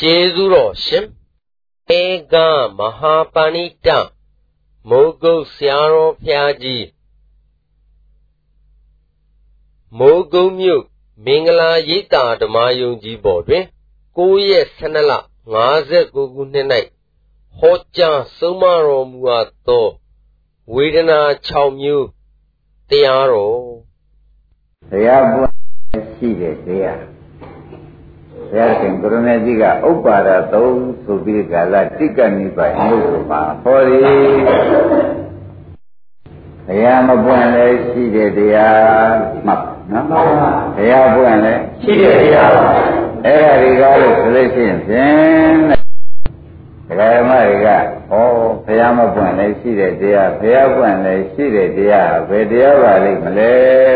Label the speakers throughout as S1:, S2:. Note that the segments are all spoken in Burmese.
S1: ကျေးဇူးတော်ရှင်ဧကမဟာပါဏိတမိုးကုတ်ဆရာတော်ဖျားကြီးမိုးကုတ်မြို့မင်္ဂလာရိပ်သာဓမ္မယုံကြီးပေါ်တွင်9ရက်12လ59ခုနှစ်၌ဟောကြားဆုံးမတော်မူအပ်သောဝေဒနာ6မျိုးတရားတော်
S2: တရားပွင့်ရှိတဲ့တရားဆရာရှင်ကရုဏာကြီးကဥပ္ပါဒသုံးဆိုပြီးကာလတိက္ကနိဗ္ဗာန်မြို့ကိုမှာဟောရီတရားမပွင့်လည်းရှိတဲ့တရားမှတ်နော်တရားပွင့်လည်း
S3: ရှိတဲ့တရားပါ
S2: အဲ့ဒါတွေကလို့ဆိုလို့ရှိရင်ဖြင့်တရားဓမ္မတွေကဩဘုရားမပွင့်လည်းရှိတဲ့တရားဘုရားပွင့်လည်းရှိတဲ့တရားဘယ်တရားပါလိမ့်မလဲ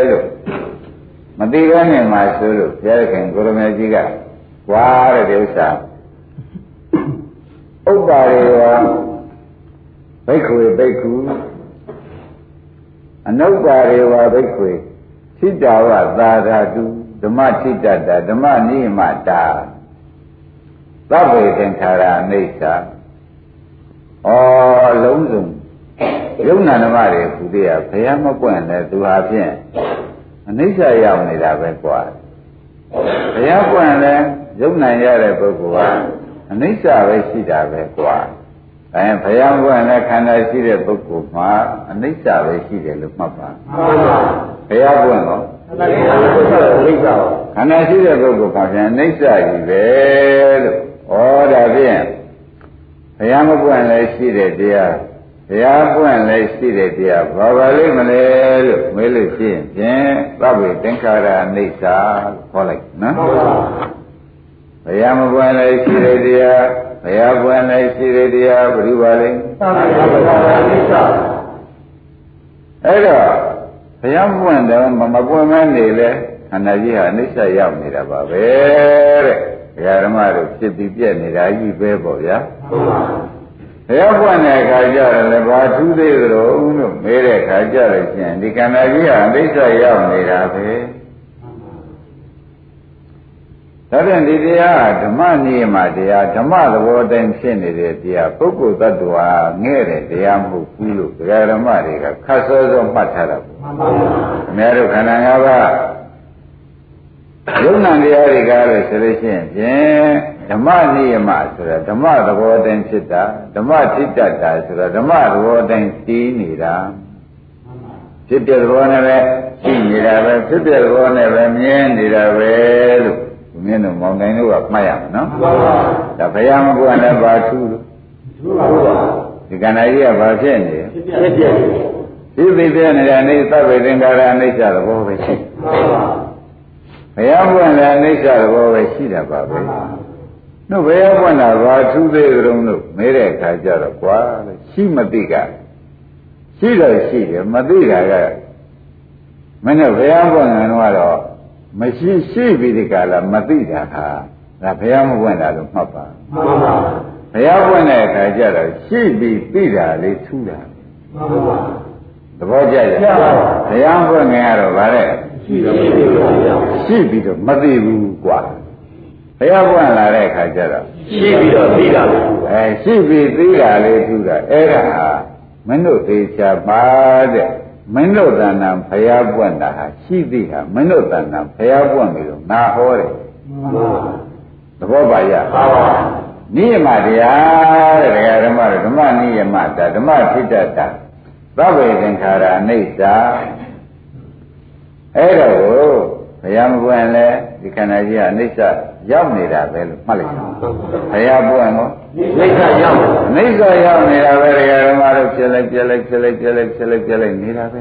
S2: လို့မသိဘဲနဲ့မှဆိုလို့ဘုရားသခင်ကိုရမေကြီးကွားတဲ့ဥစ္စာဥပ္ပါရေဝဘိက္ခုဘိက္ခုအနုပ္ပါရေဝဘိက္ခုထိတာဝသာဓာတုဓမ္မထိတတ္တဓမ္မနိမတာသဗ္ဗေသင်္ခါရအိဋ္ဌာဩလုံးစုံယုံနာဓမ္မတွေသူတွေကဘယ်မှမပွင့်လဲသူဟာဖြင့်အနိစ္စရောက်နေတာပဲกว่าဘုရားကွန်လည်းယုံနိုင်ရတဲ့ပုဂ္ဂိုလ်ဟာအနိစ္စပဲရှိတာပဲกว่าအဲဘုရားကွန်လည်းခန္ဓာရှိတဲ့ပုဂ္ဂိုလ်မှာအနိစ္စပဲရှိတယ်လို့မှတ်ပါ
S3: မှန်ပါ
S2: ဘုရားကွန်တော့
S3: အတ္တကိစ္စကိစ္စကိုလိမ့်ပါပါ
S2: ခန္ဓာရှိတဲ့ပုဂ္ဂိုလ်ကပြန်အနိစ္စကြီးပဲလို့ဩဒါဖြင့်ဘုရားမကွန်လည်းရှိတဲ့တရားဘုရားပွင့်လည်းရှိတဲ့တရားဘာပါလိမ့်မလဲလို့မေးလို့ရှိရင်ဖြင့်သဗ္ဗေသင်္ခါရအိဋ္ဌာလို့ခေါ်လိုက်နော်
S3: မှန်ပါ
S2: ဘုရားမပွင့်လည်းရှိတဲ့တရားဘုရားပွင့်လည်းရှိတဲ့တရားဘယ်လိုပါလိမ့်
S3: သာသနာ့ဘုရားကိစ္စ
S2: အဲ့တော့ဘုရားပွင့်တယ်မမပွင့်မနေလဲခန္ဓာကြီးဟာအိဋ္ဌာရောက်နေတာပါပဲတဲ့ဘုရားဓမ္မတို့ဖြစ်ပြီးပြက်နေတာကြီးပဲပေါ့ဗျာဘု
S3: မှန်ပါ
S2: ရားပွင့်တဲ့အခါကျတော့လည်းဘာထူးသေးသလိုလို့မေးတဲ့အခါကျတော့ရှင်ဒီကန္နာကြီးကအတိတ်ဆက်ရောက်နေတာပဲဒါဖြင့်ဒီတရားကဓမ္မနိယမတရားဓမ္မသဘောတိုင်းဖြစ်နေတဲ့တရားပုဂ္ဂိုလ်သတ္တဝါငဲ့တဲ့တရားမဟုတ်ဘူးလို့ဒကာဓမ္မတွေကခတ်စောစောမှတ်ထားတာပေါ့
S3: မှန်ပါမှ
S2: ခင်ဗျား
S3: န်ပါ
S2: တို့ခန္ဓာ၅ပါးယုံနာတရားတွေကားလို့ဆိုလို့ရှိရင်ဖြင့်ဓမ္မနိယမဆိုတာဓမ္မသဘောတိုင်းဖြစ်တာဓမ္မထိတတ်တာဆိုတာဓမ္မသဘောတိုင်းသိနေတာဖြစ်ပြသဘောနဲ့ပဲရှိနေတာပဲဖြစ်ပြသဘောနဲ့ပဲမြင်နေတာပဲလို့မြင်တော့မောင်တိုင်းတို့ကမှတ်ရမှာနော်
S3: မှန်ပါ
S2: ဒါဘုရားမကွန်းလည်းဘာထူးလို့
S3: သူကဘုရား
S2: ဒီကဏ္ဍကြီးကဘာဖြစ်နေလဲ
S3: ဖြစ်ပြဖြစ်ပြ
S2: ဒီသိပြနေတာနေသဗ္ဗေသင်္ခါရအိဋ္ဌသဘောပဲရှိ
S3: မှန်ပါ
S2: ဘုရားမကွန်းလည်းအိဋ္ဌသဘောပဲရှိတာပါပဲ တို့ဘယ်ရောက်ပွင့်တာဘာထူးသေးကြုံလို့မဲတဲ့အခါကျတော့ကွာလို့ရှိမသိကရှိတော့ရှိတယ်မသိတာကမင်းတို့ဘယ်ရောက်ပွင့်တာတော့မရှိရှိပြီးဒီကလာမသိတာဟာဒါဘယ်ရောက်မပွင့်တာလို့မှတ်ပါ
S3: မှန်ပါ
S2: ဘယ်ရောက်ပွင့်တဲ့အခါကျတော့ရှိပြီးသိတာလေးထူးတာ
S3: မှန်ပါ
S2: သဘောကျရဲ့ဘယ်ရောက်ပွင့်ငယ်ကတော့ဗါတဲ့
S3: ရှိတယ်ရှိတယ်
S2: ရှိပြီးတော့မသိဘူးကွာဘယ်ရောက်ပွင့်လာတဲ့အခါကျတော့
S3: ရှိပြီးတော့သိတာလေ
S2: အဲရှိပြီသိတာလေးထူတာအဲ့ဒါဟာမင်းတို့သေချာပါတဲ့မင်းတို့တဏ္ဍာဖျားပွင့်တာဟာရှိသည်ဟာမင်းတို့တဏ္ဍာဖျားပွင့်ပြီလို့နာဟောတယ်
S3: မှန်ပါ
S2: သဘောပါရ
S3: သာပါ
S2: နိယမတရားတဲ့ဒကာဓမ္မတို့ဓမ္မနိယမတာဓမ္မဖြစ်တတ်တာသဗ္ဗေသင်္ခါရအိဋ္ဌာအဲ့ဒါကိုဘုရားမပွင့်လဲဒီခန္ဓာကြီးကအိဋ္ဌာရောက်နေတာပဲလို့မှတ်လိုက်ပါဘုရားပွင့်တော့
S3: နိစ္စရောက်ပါ
S2: အနိစ္စရောက်နေတာပဲတရားဓမ္မတို့ဖြစ်လိုက်ပြက်လိုက်ဖြစ်လိုက်ပြက်လိုက်ဖြစ်လိုက်ပြက်လိုက်နေတာပဲ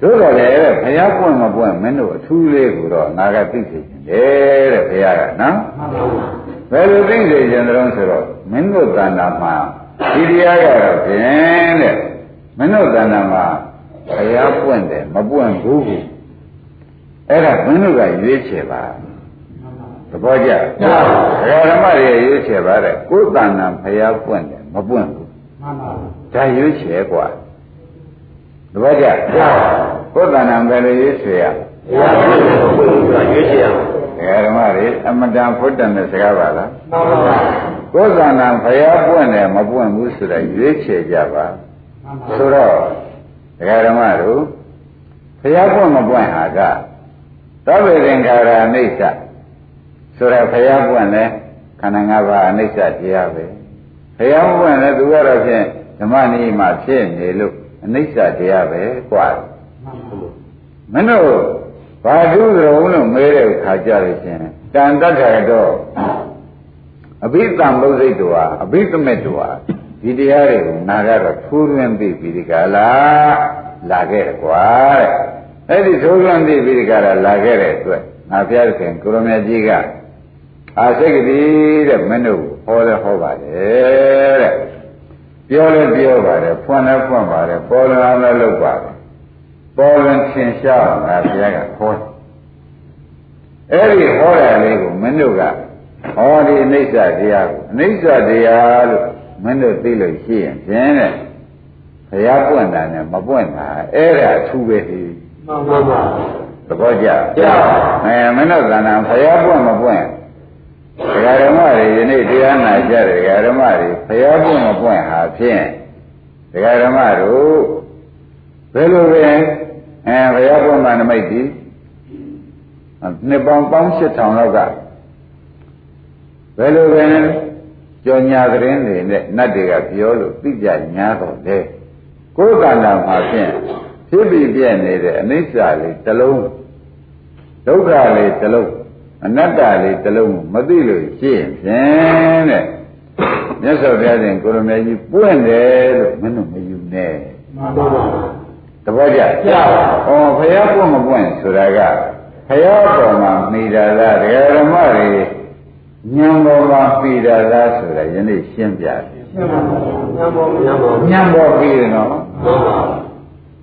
S2: တို့တော့လေဘုရားပွင့်မပွင့်မင်းတို့အထူးလေးကိုတော့နာကသိစေခြင်းတယ်တဲ့ဘုရားကနော်
S3: မှန်ပါ
S2: ဘယ်လိုသိစေခြင်းတုံးဆိုတော့မင်းတို့တဏ္ဍာမှာဒီတရားကတော့ဖြင့်တဲ့မင်းတို့တဏ္ဍာမှာဘုရားပွင့်တယ်မပွင့်ဘူးကိုအဲ့ဒါမင်းတို့ကရွေးချယ်ပါ သဘောကျလားဘုရားဓမ္မတွေရွေးချယ်ပါတဲ့ကိုယ်တဏ္ဍာဖျားပွင့်တယ်မပွင့်ဘူး
S3: မှန်ပါ
S2: ဒါရွေးချယ်กว่าသဘောကျလားကိုယ်တဏ္ဍာပဲလေရွေးချယ်ရ
S3: ဘုရားကိုယ်ကိုယ်ကရွေးချယ်ရ
S2: ဘုရားဓမ္မတွေ လေအမတန်ဖွတ်တန်တဲ့စကားပါလား
S3: မှန်ပါပါ
S2: ကိုယ်ကံတံဖျားပွင့်တယ်မပွင့်ဘူးဆိုတာရွေးချယ်ကြပါ
S3: မှန်ပါ
S2: ဆိုတော့ဒကာဓမ္မတို့ဖျားပွင့်မပွင့်ဟာကသဗ္ဗေသင်္ခါရအနိစ္စဆိုတာဖျားပွင့်လဲခန္ဓာ၅ပါးအနိစ္စတရားပဲဖျားပွင့်လဲသူကတော့ဖြင့်ဓမ္မနည်းမှာဖြစ်နေလို့အနိစ္စတရားပဲกว่า မင်းတို့ဘာသူကြုံလို့မဲတဲ့ခါကြလို့ရှင်တန်တတ်ကြတော့အဘိသံဘုဇိတ်တော်ဟာအဘိသမက်တော်ဟာဒီတရားတွေကိုနာကြတော့ထိုးသွင်းပြီးပြီးဒီကလာလာခဲ့တယ်ကွာတဲ့အဲ့ဒီထိုးသွင်းပြီးပြီးဒီကလာလာခဲ့တဲ့အတွက်ငါဘုရားသခင်ကိုရမကြီးကအာစိတ်ကတိတဲ့မင်းတို့ကိုဟောလဲဟောပါတယ်တဲ့ပြောလဲပြောပါတယ်ဖွင့်လဲဖွင့်ပါတယ်ပေါ်လဲအောင်လဲလုပ်ပါတယ် ပေါ်လွင်ထင်ရှားအောင်ငါဘုရားကဟောတယ်အဲ့ဒီဟောတာလေးကိုမင်းတို့ကဟောဒီအနိစ္စတရားကိုအနိစ္စတရားလို့မင်းတို့သိလို့ရှိရင်ဖြင့်တဲ့ဘုရားပွင့်တာနဲ့မပွင့်တာအဲ့ဒါအထူးပဲဒီ
S3: မှန်ပါပါ
S2: သဘောကျ
S3: ကြာ
S2: အဲမင်းတို့ကဏ္ဍဘုရားပွင့်မပွင့်ဒကာဓမ္မတွေယနေ့တရားနာကြတယ်ဒကာဓမ္မတွေဘုရားပွင့်မပွင့်ဟာဖြင့်ဒကာဓမ္မတို့ ဘယ်လိုပဲအဲဘုရားဘုရားနမိတ်ဒီနှစ်ပေါင်းပေါင်း8000လောက်ကဘယ်လိုပဲကြော်ညာသတင်းတွေနဲ့နတ်တွေကပြောလို့သိကြညာတော့လေကိုယ်ကန္တာမှာဖြင့်ဖြစ်ပြီးပြည့်နေတဲ့အနိစ္စလေးတစ်လုံးဒုက္ခလေးတစ်လုံးအနတ္တလေးတစ်လုံးကိုမသိလို့ရှိရင်ဖြင့်တဲ့မြတ်စွာဘုရားရှင်ကိုရမေကြီးပွင့်တယ်လို့မင်းတို့မယူနဲ့
S3: မှန်ပါပါ
S2: တပည့်ကြ
S3: ကျပါ
S2: ။အော်ဖယားပွင့်မပွင့်ဆိုတာကဖယားပေါ်မှာမိတာလားတရားဓမ္မတွေညံပေါ်မှာမိတာလားဆိုတာယနေ့ရှင်းပြတယ်
S3: မှန်ပါပါညံပေါ်ညံပေါ်
S2: ။ညံပေါ်ပြီးတယ်နော်
S3: မှန်ပါ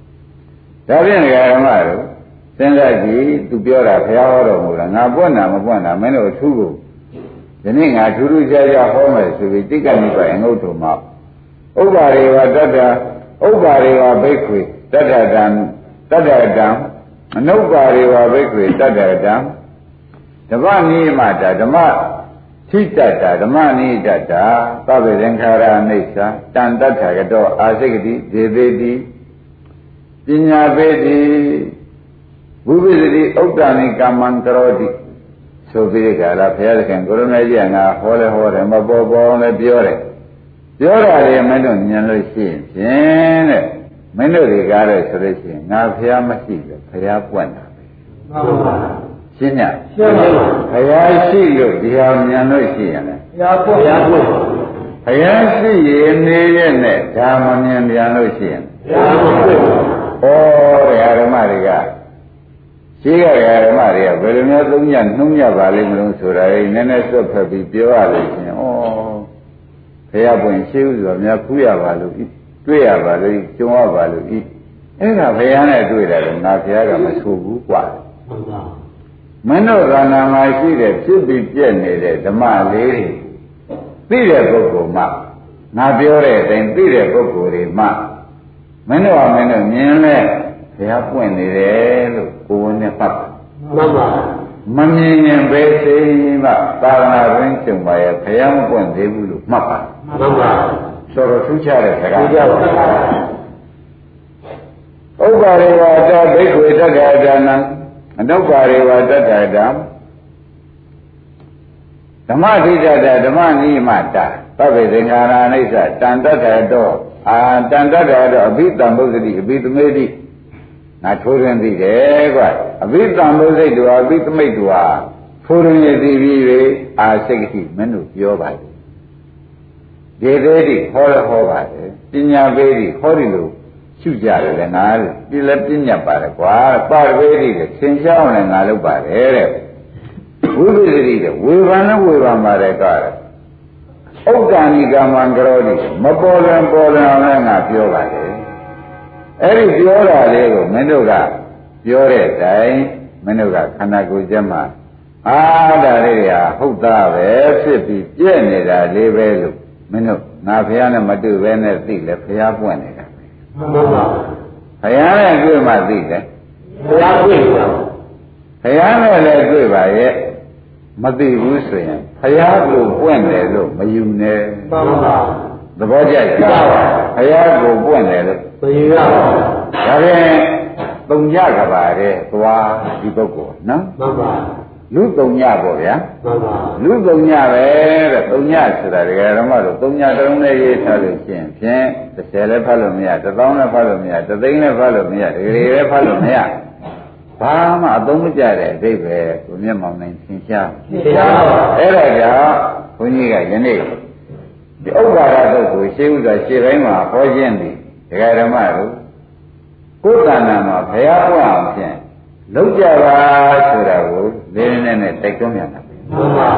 S2: ။ဒါဖြင့်တရားဓမ္မတို့စဉ်းစားကြည့်သူပြောတာဖယားဟောတော်မူတာငါပွင့်တာမပွင့်တာမင်းတို့အထူးကိုဒီနေ့ငါထူးထူးခြားခြားဟောမယ်ဆိုပြီးတိက္ကဏိပါအငုတ်တော်မှာဥပ္ပါရေဝတတ္တဥပ္ပါရေဝဘိက္ခွေတတ္တတံတတ္တတံအနုပ္ပါရေဝဘိက္ခွေတတ္တတံ ဓမ္မနိမတာဓမ္မထိတတ္တာဓမ္မနိတတ္တာသဗ္ဗေသင်္ခါရအနိစ္စတန်တတ္ထာကတောအာစိကတိဒေဝေတိပညာပေတိဘုဗ္ဗစတိဥဒ္ဒနိကမ္မံကရောတိဆိုပြီးဒီကလာဘုရားသခင်ကိုရမေကြီးကငါဟောလဲဟောတယ်မပေါ်ပေါ်လဲပြောတယ်ပြောတာလေမင်းတို့ညံလို့ရှိရင်ဖြင့်တဲ့မင်းတို့တွေကားတယ်ဆိုလို့ရှိရင်ငါဘုရားမရှိဘူးဘုရားပွင့်တာပဲ
S3: မှန်ပါပါ
S2: ရှင်းညာ
S3: ရှင်းပါပါ
S2: ဘုရားရှိလို့ဒီဟာဉာဏ်လို့ရှိရတယ်
S3: ဘုရားပွင့်ဘုရားပွင့်
S2: ဘုရားရှိရင်နေရက်နဲ့ဒါမမြင်ပြန်လို့ရှိရင်
S3: ဘုရားပွ
S2: ဩတရားဓ
S3: င့်
S2: မ္မတွေကရှိရတရားဓမ္မတွေကဘယ်လိုများသုံးညနှုံးညပါလိမ့်မလို့ဆိုတာလေနည်းနည်းဆွတ်ဖက်ပြီးပြောရလို့ရှိရင်ဩဘုရားပွင့်ရှိဥစွာများခုရပါလို့ဤတွေ့ရပါလို့ဤကြုံရပါလို့ဤအဲ့ဒါဘုရားနဲ့တွေ့တယ်လို့ငါဘုရားကမဆိုဘူးกว่า
S3: မှန်ပါ
S2: မင်းတို့ကန္နာမှာရှိတဲ့ဖြစ်ပြီးပြည့်နေတဲ့ဓမ္မလေးတွေသိတဲ့ပုဂ္ဂိုလ်မှငါပြောတဲ့အတိုင်းသိတဲ့ပုဂ္ဂိုလ်တွေမှမင်းတို့ကမင်းတို့မြင်လဲဘုရားပွင့်နေတယ်လို့ကိုယ်ဝန်နဲ့ပတ်ပါ
S3: မှန်ပါ
S2: မမြင်ရင်ဘယ်သိမှသာသနာ့ရင်းကျုံပါရဲ့ဘုရားမပွင့်သေးဘူးလို့မှတ်ပါ
S3: မှန်ပါ
S2: စောတော်ထူးခြားတဲ့စကား
S3: ဒီကြောင့်မှန်ပါ
S2: ဥပ္ပါရေဝတ္တဘိက္ခွေတက္ကဒါနံအနုပ္ပါရေဝတ္တတံဓမ္မတိတ္တဓမ္မနိမတသဗ္ဗေသင်္ခါရအနိစ္စတန်တတ္တတောအာတန်တတ္တတောအဘိတံဘုဇ္ဇတိအဘိသမေတိငါထိုးရင်းသိတယ်ကွာအဘိတံဘုဇ္ဇိတ်တောအဘိသမိတ်တောထိုးရင်းရသိပြီးပြီအာစိတ်တိမင်းတို့ပြောပါလေ ဒေသေးတိဟောရဟောပါတယ်ပညာပေးတိဟောဒီလိုရှုကြတယ်လေငါလို့ပြည်လည်းပြညတ်ပါတယ်ကွာပါရဝေတိကသင်ချောင်းလည်းငါလုပ်ပါတယ်တဲ့ဝိပဿတိကဝေဘာနဲ့ဝေဘာပါတယ်ကွာဥဒ္ဒာနိကမ္မံကရောတိမပေါ်လွန်ပေါ်လွန်အောင်လည်းငါပြောပါတယ်အဲ့ဒီပြောတာလေးကိုမင်းတို့ကပြောတဲ့အတိုင်းမင်းတို့ကခန္ဓာကိုယ်ကျက်မှာအာဒါလေးတွေဟာဟုတ်သားပဲဖြစ်ပြီးပြည့်နေတာလေးပဲလို့မင်းတို့ငါဖះနဲ့မတွေ့ပဲနဲ့သိလဲဖះပွင့်နေတာ
S3: မှန်ပါ
S2: ဖះနဲ့တွေ့မှသိတယ်
S3: ဘုရားပွင့်ပါ
S2: ဖះနဲ့လည်းတွေ့ပါရဲ့ မသိဘူးဆိုရင်ဖျားကိုပွင့်တယ်လို့မယူနဲ့
S3: မှန်ပါ
S2: သဘောကျရဲ့ဖျားကိုပွင့်တယ်လို့
S3: မယူရပါ
S2: ဒါဖြင့်တုံညကပါတဲ့သွားဒီပုဂ္ဂိုလ်နော်
S3: ဘူးမှန်ပါ
S2: လူတုံညပေါ့ဗျာ
S3: မှန်ပါ
S2: လူတုံညပဲတဲ့တုံညဆိုတာဒကာဓမ္မတို့တုံညတစ်လုံးနဲ့ရေးထားလို့ရှရင်ဖြင့်တစ်ဆယ်လည်းဖတ်လို့မရတစ်သောင်းလည်းဖတ်လို့မရတစ်သိန်းလည်းဖတ်လို့မရတစ်ကလေးလည်းဖတ်လို့မရဘာမှအသုံးမကျတဲ့အဓိပ္ပာယ်ကိုမျက်မှောင်နိုင်သင်ရှား
S3: သိရပါဘူး
S2: အဲ့ဒါကြောင့်ဘုန်းကြီးကယနေ့ဒီဥပ္ပါဒတုတ်ကိုရှင်းဥစွာရှင်းတိုင်းမှာဟောခြင်းသည်ဒကာဓမ္မတို့ကိုယ်တဏ္ဍာမှာဘုရားဟောအောင်ဖြင့်လုံးကြပါဆိုတာကိုလေးလေးနဲ့နဲ့တိုက်တွန်းပြန်တာ
S3: မှန်ပါ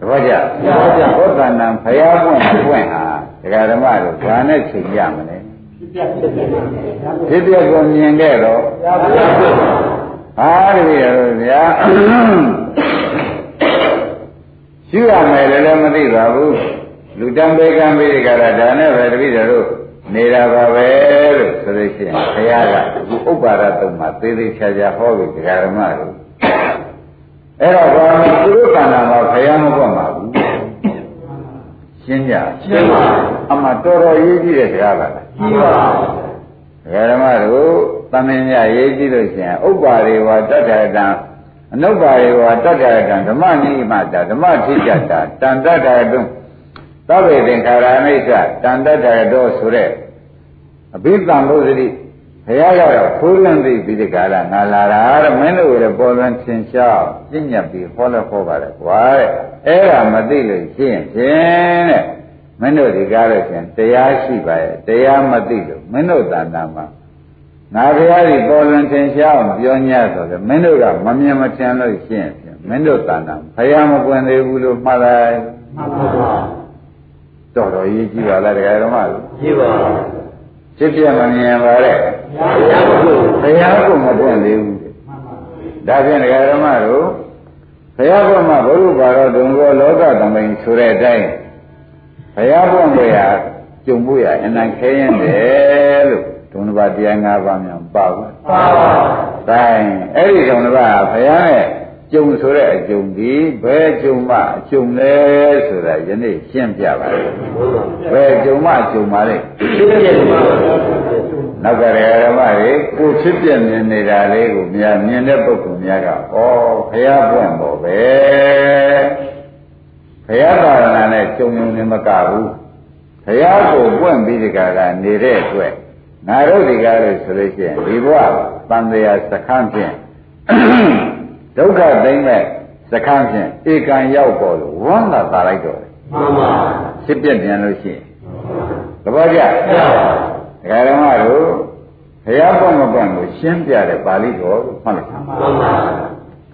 S2: တပည့်ကြ
S3: ပါဗျာ
S2: ကိုယ်တဏ္ဍာဘုရားပွင့်ပွင့်ဟာဒကာဓမ္မတို့ဘာနဲ့ချိန်ရမလဲ
S3: ဖြစ်ပြဖြစ်ပြပါ
S2: ဒီပြည့်ကိုမြင်ခဲ့တော့
S3: ဘုရားပွင့်
S2: ဟာတပည့်တော်ဗျာ ရှိရမယ်လည်းလည်းမသိပါဘူးလူတံပေကံပိရိကာရဒါနဲ့ပဲတပည့်တော်နေတာပါပဲလို့ဆိုလို့ရှိရင်ဘုရားကဒီဥပ္ပါဒတုံမှာသေသေးချာချာဟောပြီးဒကာဓမ္မတို့ အဲ့တော့ဘာမှသူတို့ကံတာမှာဘုရားမကွတ်ပါဘူးရှင်းကြ
S3: ရှင်းပါ
S2: အမှတော်တော်ရေးကြည့်တဲ့စကားပါလား
S3: ကြီးပါ
S2: ဒဂရမတို့သမင်ညရေးကြည့်လို့ရှိရင်ဥပ္ပါရေဝတတ္ထတံအနုပ္ပါရေဝတတ္ထတံဓမ္မနိမတဓမ္မထိကြတာတန်တတ္ထတုံသဗ္ဗေသင်္ခါရမိစ္ဆတန်တတ္ထတောဆိုတဲ့အဘိဓမ္မုသတိဘုရားရောက်တော့ဖိုးလန့်သိပြီးဒီကရငါလာတာတဲ့မင်းတို့ကလည်းပေါ်လွန်ထင်ရှားပြည့်ညက်ပြီးဟောလဲဟောပါလေကွာတဲ့အဲ့ဒါမသိလို့ရှင်းဖြင့်တဲ့ မင်းတို့ဒီကားလို့ရှင်တရားရှိပါရဲ့တရားမသိလို့မင်းတို့တဏ္ဍာမှာငါဘုရားကြီးပေါ်လွင်ထင်ရှားအောင်ပြောညဆိုတယ်မင်းတို့ကမမြင်မထင်လို့ရှင်းဖြင့်မင်းတို့တဏ္ဍာဘုရားမပွင့်သေးဘူးလို့မှားလိုက်
S3: မှန်ပါ
S2: တော်တော်ရေးကြည့်ပါလားတရားတော်မလို့
S3: ကြီးပါ
S2: ဖြစ်ပြမမြင်ပါတဲ့
S3: ဘုရားပွင့်
S2: ဘုရားကမပွင့်သေးဘူးဒါဖြင့်တရားတော်မတို့ဘုရားကမှဘုရုပါတော်ဒုံဘောလောကသမိန်ဆိုတဲ့အတိုင်းဘုရားပွင့်လို့ရကြုံဖို့ရအနံခဲရင်တယ်လို့ဒုံဘာတရား၅ပါးများပါဘူး
S3: ပါပါ
S2: တိုင်းအဲ့ဒီကြောင့်တပါဘုရားရဲ့ကျုံဆိုတဲ့အကျုံဒီဘယ်ကျုံမှအကျုံလဲဆိုတာယနေ့ရှင်းပြပါမယ်
S3: ဘု
S2: ဘယ်
S3: ရား
S2: ကျုံမှအကျုံပါလဲ
S3: ဖြစ်ပြပါ
S2: နောက်ကရေဓမ္မတွေကိုဖြစ်ပြမြင်နေတာလေးကိုမြင်မြင်တဲ့ပုဂ္ဂိုလ်များကဩဘုရားပွင့်ပေါ်ပဲဘုရားသာရဏနဲ့ကျုံုံနေမကဘူးဘုရားကိုပွင့်ပြီးဒီကကနေတဲ့အတွက်ငါတို့ဒီကားလို့ဆိုလို့ရှိရင်ဒီဘဝတန်တရားစခန်းဖြ င့် ဒုက္ခသိမ့်မဲ့စခန်းဖြင့်ဧကံရောက်ပေါ်လို့ဝမ်းသာတာလိုက်တော့တယ်
S3: မှန်ပါ
S2: ဖြစ်ပြပြန်လို့ရှိရင်သဘောကျ
S3: ဘုရား
S2: ဒကာဓမ္မတို့ဘုရားပွင့်မပွင့်ကိုရှင်းပြတဲ့ပါဠိတော်ကိုမှတ်လိုက်ပါ
S3: မှန်ပါ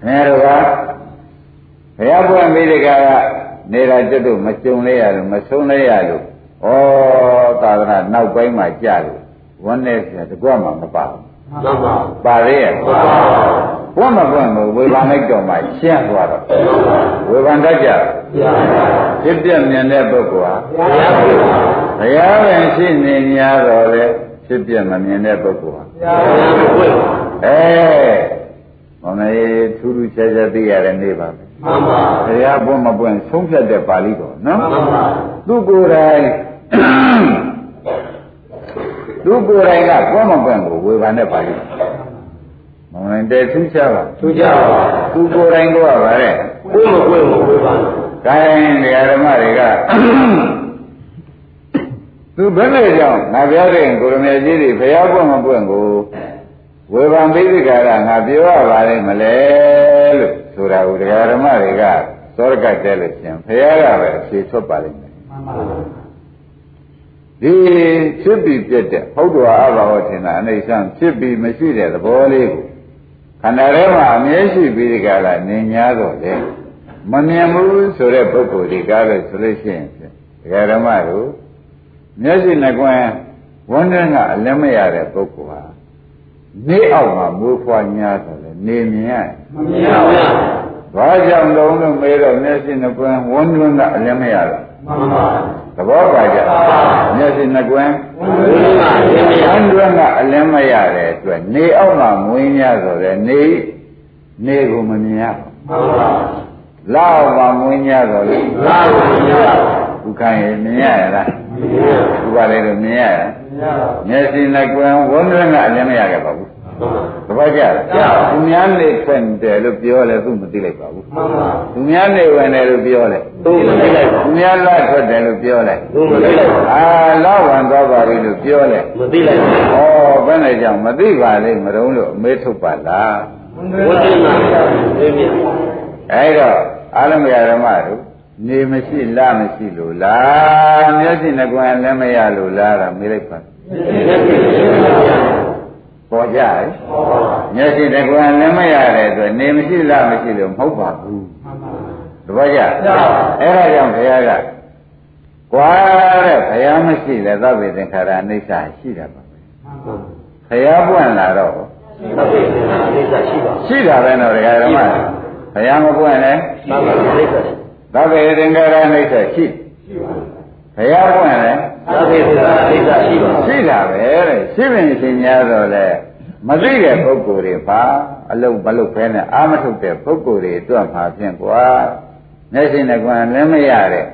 S2: ခင်ဗျားတို့ကဘုရားပွင့်မိဒကာကနေတာကျွတ်တို့မကြုံလဲရလို့မဆုံးလဲရလို့ဩသာသနာနောက်ပိုင်းမှာကြာလို့ဝမ်းနေစရာတကွမှမပါဘူး
S3: မှန်ပါ
S2: ပါရဲ့
S3: ပါ
S2: ဘုမဘုံကိုဝေဘာလိုက်တော်မှာရှင်းသွားတော့ဝေဘာတတ်ကြ
S3: ဘုရား
S2: ဖြစ်ပြမြင်တဲ့ပုဂ္ဂိုလ်ဟာ
S3: ဘုရားပွင့်
S2: ဘုရားပင်
S3: ပါ
S2: ရှိနေညာတော်လေဖြစ်ပြမမြင်တဲ့ပုဂ္ဂိုလ်ဟာ
S3: ဘုရားပွင့်
S2: အဲမမေထူးထူးခြားခြားသိရတဲ့နေ့ပါပဲ
S3: မှန်ပါ
S2: ဘုရားဘုမဘုံဆုံးဖြတ်တဲ့ပါဠိတော်နော်
S3: မှန်ပါ
S2: သူကိုယ်တိုင် သူကိုယ်တိုင်ကဘုမဘုံကိုဝေဘာနဲ့ပါဠိမမေတဲထူးခြားပါ
S3: သူကြပါ
S2: သူကိုယ်တိုင်ကပါတဲ့
S3: ပွင့်မပွင့်မပွင့်ပါ
S2: ။ဒါရင်နေရာဓမ္မတွေက သူဘယ်နဲ့ကြောင့်ငါပြောတဲ့ကိုရမေကြီးတွေဘုရားပွင့်မပွင့်ကိုဝေဖန်ပိဋကရငါပြောရပါလိမ့်မလဲလို့ဆိုတာကိုဒကာဓမ္မတွေကသောရကတဲလို့ရှင်ဘုရားကပဲဖြေထွက်ပါလိမ့်မယ်
S3: မှန်ပါ
S2: ။ဒီဖြစ်ပြီးပြတ်တဲ့ဟုတ်တော်အဘဟောထင်တာအနေဆန်းဖြစ်ပြီးမရှိတဲ့သဘောလေးကိုခန္ဓာထဲမှာအမြဲရှိပြီးဒီကလာနေညာတော့လေမမြင်ဘူးဆိုတဲ့ပုဂ္ဂိုလ်ဒီကားလို့ဆိုလို့ရှိရင်ဖြင့်ဒကာဓမ္မတို့မျက်စိနဲ့ကွင်းဝန်းတဲ့ကအလင်းမရတဲ့ပုဂ္ဂိုလ်ဟာနေအောက်မှာမွေးဖွားညာဆိုလေနေမြင်ရတယ်
S3: မမြင်ပါဘူး
S2: ။ဘာကြောင့်လုံးလို့မေးတော့မျက်စိနဲ့ကွင်းဝန်းတွန်းကအလင်းမရတော့
S3: မှန်ပါ
S2: သဘောပါကြ။မျက်စိနဲ့ကွင်း
S3: ဘုရားမြင်
S2: ။ဘ
S3: မြ
S2: န်း
S3: င်
S2: တွင်းကအလင်းမရတဲ့အတွက်နေအောက်မှာမွေးများဆိုတဲ့နေနေကိုမမြင်ရဘူး
S3: မှန်ပါ
S2: ။ဒ လောက်ပါမွင်းကြတော့လေ
S3: လာလို့မရပါ
S2: ဥက္ကံရမြင်ရလား
S3: ဘူးမရ
S2: ဥ
S3: ပါ
S2: ပါလေလို့မြင်ရလား
S3: ဘူးမရပါ
S2: မျက်စိနဲ့ကြွယ်ဝန်းရငါအလည်းမရခဲ့ပါဘူး
S3: ဘူး
S2: သဘောကျလား
S3: ကျပါဘူး
S2: သူများနေဖွင့်တယ်လို့ပြောလဲသူမသိလိုက်ပါဘူး
S3: မှန်ပါ
S2: သူများနေဝင်တယ်လို့ပြောလဲ
S3: သူမသိလိုက်ပါ
S2: သူများလာထွက်တယ်လို့ပြောလဲ
S3: သူမသိလိုက်ပါ
S2: အာလောက်ဝင်သွားပါပြီလို့ပြောလဲ
S3: မသိလိုက်ဘူး
S2: ဩဘယ်နဲ့ကြောင့်မသိပါလိမ့်မတုံးလို့အမေးထုတ်ပါလား
S3: ဝိသေနာသိမြင်
S2: အဲ့တော့အာရမယဓမ္မတို့နေမရှိလမရှိလို့လားမျက်စိနှကွယ်လည်းမရလို့လားတော့မေးလိုက်ပါ
S3: သိမြင်
S2: ပေါ်ကြရဲ့မျက်စိနှကွယ်လည်းမရတဲ့အတွက်နေမရှိလမရှိလို့မဟုတ်ပါဘူးတပည့်ကြအဲ့ဒါကြောင့်ဘုရားကကွာတဲ့ဘုရားမရှိလဲသဗ္ဗေသင်္ခါရအိဋ္ဌာရှိတာပါပဲဘုရားပွင့်လာတော့
S3: သဗ္ဗေနာအိဋ္ဌရှိပါ
S2: ရှိတာပဲတော့ဒကာဓမ္မဘုရားမပွင့်လဲ
S3: သဗ္ဗေနာအိဋ္ဌရှိ
S2: သဗ္ဗေသင်္ခါရအိဋ္ဌာရှိဘုရားပွင့်လဲ
S3: သဗ္ဗေနာအိဋ္ဌရှိပါ
S2: ရှိတာပဲတဲ့ရှိပင်ရှင်များတော့လေမသိတဲ့ပုဂ္ဂိုလ်တွေပါအလုံးမလုံးဖဲနဲ့အာမထုတ်တဲ့ပုဂ္ဂိုလ်တွေအတွက်မှာဖြင့်ကွာမျက်စိနဲ့ကွာလည်းမရတဲ့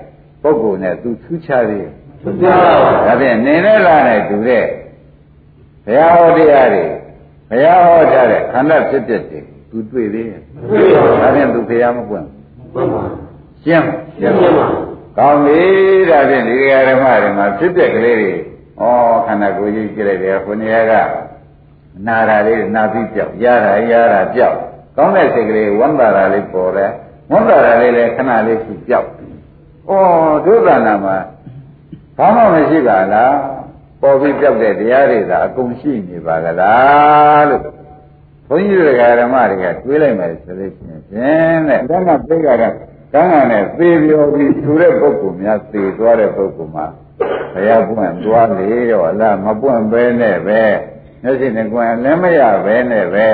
S2: ပုဂ္ဂိုလ်နဲ့သူထူးခြားသေးတယ်
S3: သူပြောတာပါ
S2: ဒါဖြင့်နေနဲ့လာနဲ့တူတဲ့ဘုရားဟောတရားတွေဘုရားဟောထားတဲ့ခန္ဓာဖြစ်ဖြစ်တွေသူတွေ့သေးတယ်
S3: သိပါ
S2: ဒါဖြင့်သူဘုရားမပွင့်
S3: မှန်ပါ
S2: ရှင်းမလား
S3: သိမြင်ပါ
S2: ကောင်းပြီဒါဖြင့်ဒီဃာရမတွေမှာဖြစ်ပျက်ကလေးတွေဩခန္ဓာကိုယ်ကြီးကြည့်လိုက်တယ်ခုနေရာကနာတာလေးနာပြီးပြောက်ရတာရတာပြောက်ကောင်းတဲ့စိတ်ကလေးဝမ်းသာတာလေးပေါ်တယ်ဝမ်းသာတာလေးလည်းခဏလေးရှိပြောက်ဩဒုသနာမှာဘာမှမရှိပါလားပေါ်ပြီးပြောက်တဲ့တရားတွေသာအကုန်ရှိနေပါကလားလို့ဘုန်းကြီးတွေကဓမ္မတွေကတွေးလိုက်မယ်ဆိုလို့ရှိရင်ဖြင့်တဲ့ဒါကသိကြတာကံကံနဲ့သေပြောပြီးသူတဲ့ပုဂ္ဂိုလ်များသေသွားတဲ့ပုဂ္ဂိုလ်မှာဘုရားပွင့်သွားလေတော့အလားမပွင့်ပဲနဲ့ပဲမျက်စိနဲ့ကွယ်လည်းမရပဲနဲ့ပဲ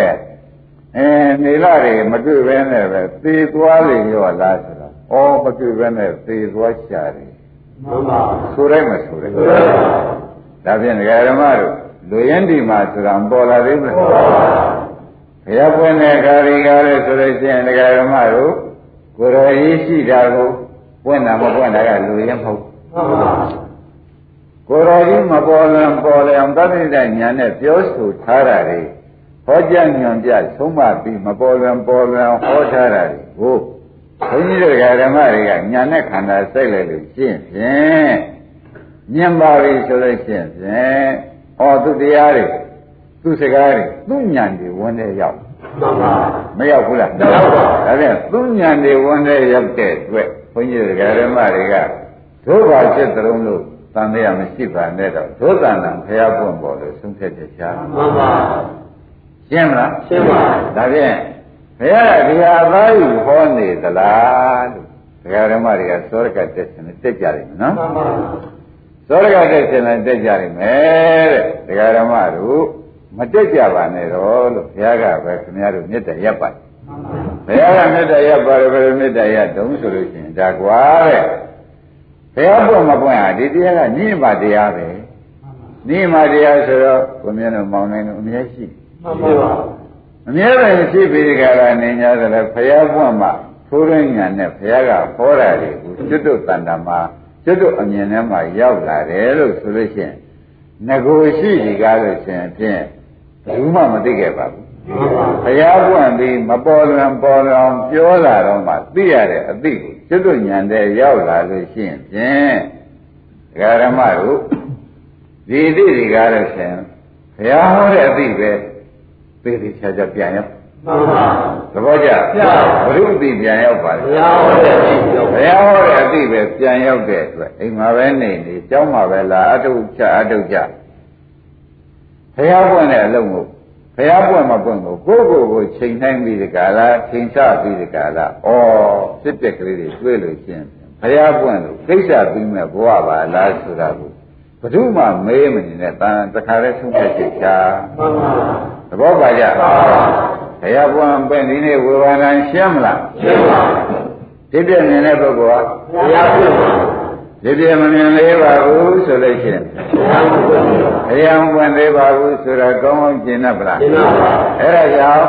S2: အဲနေလာတွေမတွေ့ပဲနဲ့ပဲသေသွားလေရောလားဆိုတော့ဩမတွေ့ပဲနဲ့သေသွားချတယ်
S3: မှန်ပါ
S2: ဆိုတိုင်းမဆိုတိုင်း ဒါဖြင့်ဒကာဓမ္မတို့လူရင်းဒီမှာဆိုတာမပေါ်လာသေးဘူးလားဘုရားပွင့်တဲ့ကာရီကားလေးဆိုလို့ရှိရင်ဒကာဓမ္မတို့ကိုယ်တော်ရေးရှိတာကိုပွင့်တာမပွင့်တာကလူရင်းမဟုတ်ဘူး
S3: မှန်ပါ
S2: ကိုယ်တော်ကြီးမပေါ်လံပေါ်လံသတိတ္တညာနဲ့ပြောဆိုထားတာတွေဟောကြားညွန်ပြဆုံးမပြီးမပေါ်လံပေါ်လံဟောထားတာတွေကိုဘုန်းကြီးတို့ဒကာဓမ္မတွေကညာနဲ့ခန္ဓာစိုက်လိုက်လို့ရှင်းဖြင့် မြင်ပါပြီဆိုလို့ရှိရင်ဖြင့်ဩသူတရားတွေသူစကားတွေသူညံတွေဝင်တဲ့ရောက်
S3: မှန်ပါ
S2: မရောက်ဘူးလားမရောက်ပါဘူးဒါဖြင့်သူညံတွေဝင်တဲ့ရောက်တဲ့အတွက်ဘုန်းကြီးတွေကဓမ္မတွေကဒုဗ္ဗာဖြစ်သလုံးလို့သံတရားမရှိပါနဲ့တော့ဒုသန္တံဖျားပွင့်ပေါ်လို့ဆုံးဖြတ်ချက်ချာ
S3: မှန်ပါ
S2: ရှင်းမလား
S3: ရှင်းပါ
S2: ဒါဖြင့်ဘုရားကဒီဟာအသားယူဟောနေသလားလို့ဒကာဓမ္မတွေကသောရကတက်ရှင်နဲ့တက်ကြတယ်နော်
S3: မှန်ပါ
S2: သောရကတက်ရှင်လည်းတက်ကြရမယ်တဲ့ဒကာဓမ္မတို့မတက်ကြပါနဲ့တော့လို့ဘုရားကပဲခင်ဗျားတို့မြတ်တရက်ပါတယ်ဘုရားကမြတ်တရက်ပါတယ်ဘယ်လိုမြတ်တရက်တုံးဆိုလို့ရှိရင်ဒါကွာတဲ့ဘုရားပွင့်မပွင့်ဟာဒီတရားကညင်ပါတရားပဲညင်ပါတရားဆိုတော့ကိုမြတ်တို့မောင်းနိုင်လို့အများကြီးရှိတယ်
S3: မှန်ပါမှန်ပါ
S2: အမြဲတမ်းရှိပြီးကြတာနေညာဆိုလဲဘုရားပွင့်မှာထိုးရင်းညာနဲ့ဘုရားကဟောတာတွေကိုကျွတ်တို့တန်တမှာကျွတ်တို့အမြင်ထဲမှာရောက်လာတယ်လို့ဆိုလို့ရှိရင်ငကိုရှိဒီကားလို့ရှိရင်ဖြင့်ဘူးမှမသိခဲ့ပါဘူး
S3: မှန်ပါ
S2: ဘုရားပွင့်ပြီးမပေါ်လွန်ပေါ်လွန်ပြောလာတော့မှသိရတဲ့အသိကိုကျွတ်တို့ညာတဲ့ရောက်လာလို့ရှိရင်ဖြင့်ဒကာရမတို့ဒီအသိဒီကားလို့ရှိရင်ဘုရားဟောတဲ့အသိပဲသိသိချာချာပြန်ရောက်
S3: မှန်ပါ
S2: သဘောကျ
S3: ကျပါ
S2: ဘုရုပ်တိပြန်ရောက်ပါ
S3: ဘု
S2: လေ
S3: ရားဟောတဲ့ဒီတော့
S2: ဘုရားဟောတဲ့အတိပဲပြန်ရောက်တဲ့အတွက်အိမ်မှာပဲနေနေကျောင်းမှာပဲလာအတုချအတုချဘုရားပွင့်တဲ့အလုံးကိုဘုရားပွင့်မပွင့်ကိုကိုယ့်ကိုယ်ကိုချိန်တိုင်းပြီးဒီကလာချိန်ချပြီးဒီကလာဩစစ်ပြက်ကလေးတွေတွေ့လို့ရှင်းဘုရားပွင့်လို့ကိစ္စပြီးမဲ့ဘဝပါလားဆိုတာကိုဘု து မှမေးမနေနဲ့တန်တခါလဲဆုံးဖြတ်ချက်ချ
S3: မှန်ပါ
S2: သဘောပါကြဘုရားပွင့်ပဲဒီနေ့ဝေဘာနာရှင်းမလား
S3: ရှင်းပါ
S2: ဒီပြည့်မြင်တဲ့ပုဂ္ဂိုလ်
S3: ဘုရားပြုပါ
S2: ကဒီပြည့်မမြင်သေးပါဘူးဆိုလို့ရှိရင်
S3: ဘုရား
S2: ဘုရားမဝင်
S3: ပြုပါ
S2: သေးပါဘူးဆိုတာကောင်းကောင်းကျင်တတ်ပလား
S3: ရှင်းပါ
S2: အဲ့ဒါကြောင့်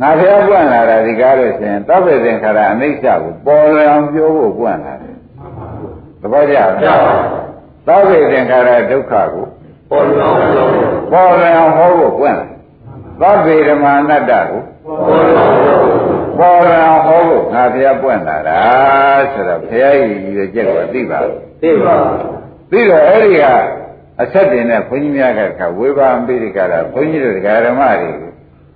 S2: ငါဖျားပွင့်လာတာဒီကားလို့ရှိရင်သဗ္ဗေသင်္ခါရအနိစ္စကိုပေါ်လွင်အောင်ပြောဖို့ပွင့်လာတယ်သဘောကျလားသဗ္ဗေသင်္ခါရဒုက္ခကို
S3: ပေါ်လွင်အောင်ပြောဖို့
S2: ပေါ်လွင်အောင်ဟောဖို့ပွင့်လာသဗ္ဗေဓမ္မာနတ္တကို
S3: ပေါ်လွင်အောင်
S2: ပေါ်လွင်အောင်ဟော
S3: ပြောဖို့
S2: ဖို့ငါဖျားပွင့်လာတာဆိုတော့ဖျားကြီးရည်ရွယ်ချက်ကိုသိပါဘူး
S3: သိပါ
S2: ပြီးတော့အဲ့ဒီကအဆက်တင်တဲ့ဘုန်းကြီးများကခါဝေဘာအပိရိကရာဘုန်းကြီးတို့ဒကာဓမ္မတွေ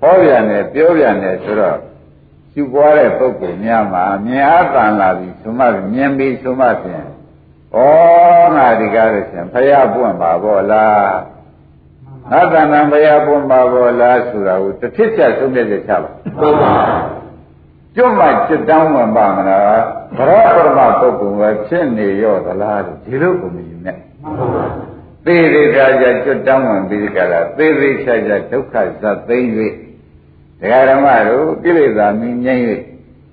S2: ဟောပြန်တယ်ပြောပြန်တယ်ဆိုတော့ယူပွားတဲ့ပုဂ္ဂိုလ်များမှာမြင်အားတန်လာပြီဆိုမှမြင်ပြီဆိုမှဖြင့်ဩငါဒီကားလို့ဖြင့်ဖရာပွင့်ပါဘောလားငါတဏ္ဍံဖရာပွင့်ပါဘောလားဆိုတာကိုတစ်ဖြစ်ချက်ဆုံးဖြတ်ချက်ချပါ
S3: မှန်ပါ
S2: ကျွတ်မှจิตတောင်းဝင်ပါမလားဘရပရမပုဂ္ဂိုလ်ပဲဖြစ်နေရောသလားလို့ဒီလိုကိုမယူနဲ့သေသေးသာသာจิตတောင်းဝင်ပြီးကြလားသေသေးချာချာဒုက္ခဇတ်သိမ့်၍တရားဓမ္မတို့ကိလေသာမင်းငြိမ်း၍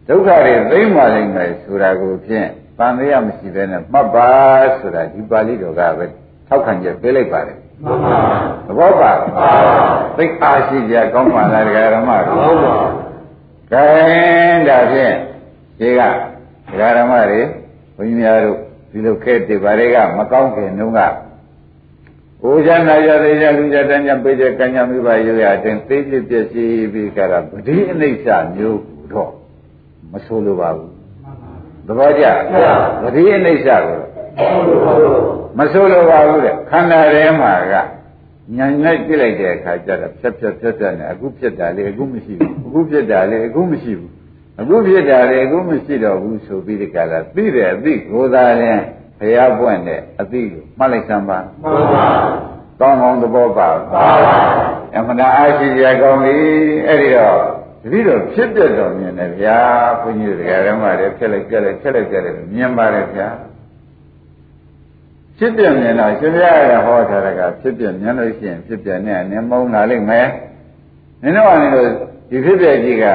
S2: ဒုက္ခတွေသိမ့်ပါလိမ့်မယ်ဆိုတာကိုဖြင့်တန်တရားမရှိဘဲနဲ့မှတ်ပါဆိုတာဒီပါဠိတော်ကပဲထောက်ခံချက်ပေးလိုက်ပါတယ်
S3: မှန်ပါ
S2: သဘောပါသိအားရှိကြကောင်းပါလားတရားဓမ္မတို့
S3: ကောင်းပါ
S2: ကဲဒါဖြင့်ဒီကဒကာဓမ္မတွေဘုန်းကြီးများတို့ဒီလိုခဲတိပါတွေကမကောင်းခင်တုန်းကဘုရားနာရသေးရလူကြတန်းကြပေးတဲ့ကံကြမိဘရိုးရတင်သိပြည့်ပြည့်စည်ပြီးကြတာဗတိအနိစ္စမျိုးတော့မဆိုလိုပါဘူးသဘောကျဗတိအနိစ္စကို
S3: ပေါ်လွင်အောင်ပြောဖို့
S2: မဆိုလိုပါဘူးတဲ့ခန္ဓာထဲမှာကညာနဲ့ပြစ်လိုက်တဲ့အခါကျတော့ဖြတ်ဖြတ်ဖြတ်ဖြတ်နဲ့အခုဖြစ်တာလေအခုမရှိဘူးအခုဖြစ်တာလေအခုမရှိဘူး အခုဖြစ်တာလေအခုမရှိတော့ဘူးဆိုပြီးဒီကလာသိတယ်အသိကိုယ်သာရင်ဘုရားပွင့်တဲ့အသိကိုမှတ်လိုက်စမ်းပါ
S3: မှန်ပါ
S2: ကောင်းကောင်းသဘောပါပါ
S3: ပါပါ
S2: အမှန်တရားအားရှိရကောင်းပြီအဲ့ဒီတော့တတိတော့ဖြစ်ပြတော်မြင်တယ်ဗျာဘုန်းကြီးတို့တရားဓမ္မတွေဖြစ်လိုက်ပြက်လိုက်ဖြစ်လိုက်ပြက်လိုက်မြင်ပါတယ်ဗျာဖြစ်ပြမြင်တော့ရှင်ပြရတဲ့ဟောထားတာကဖြစ်ပြမြင်လို့ရှိရင်ဖြစ်ပြနဲ့နင်းမုန်းလာလိမ့်မယ်နင်တို့ကနေလို့ဒီဖြစ်ပြကြီးက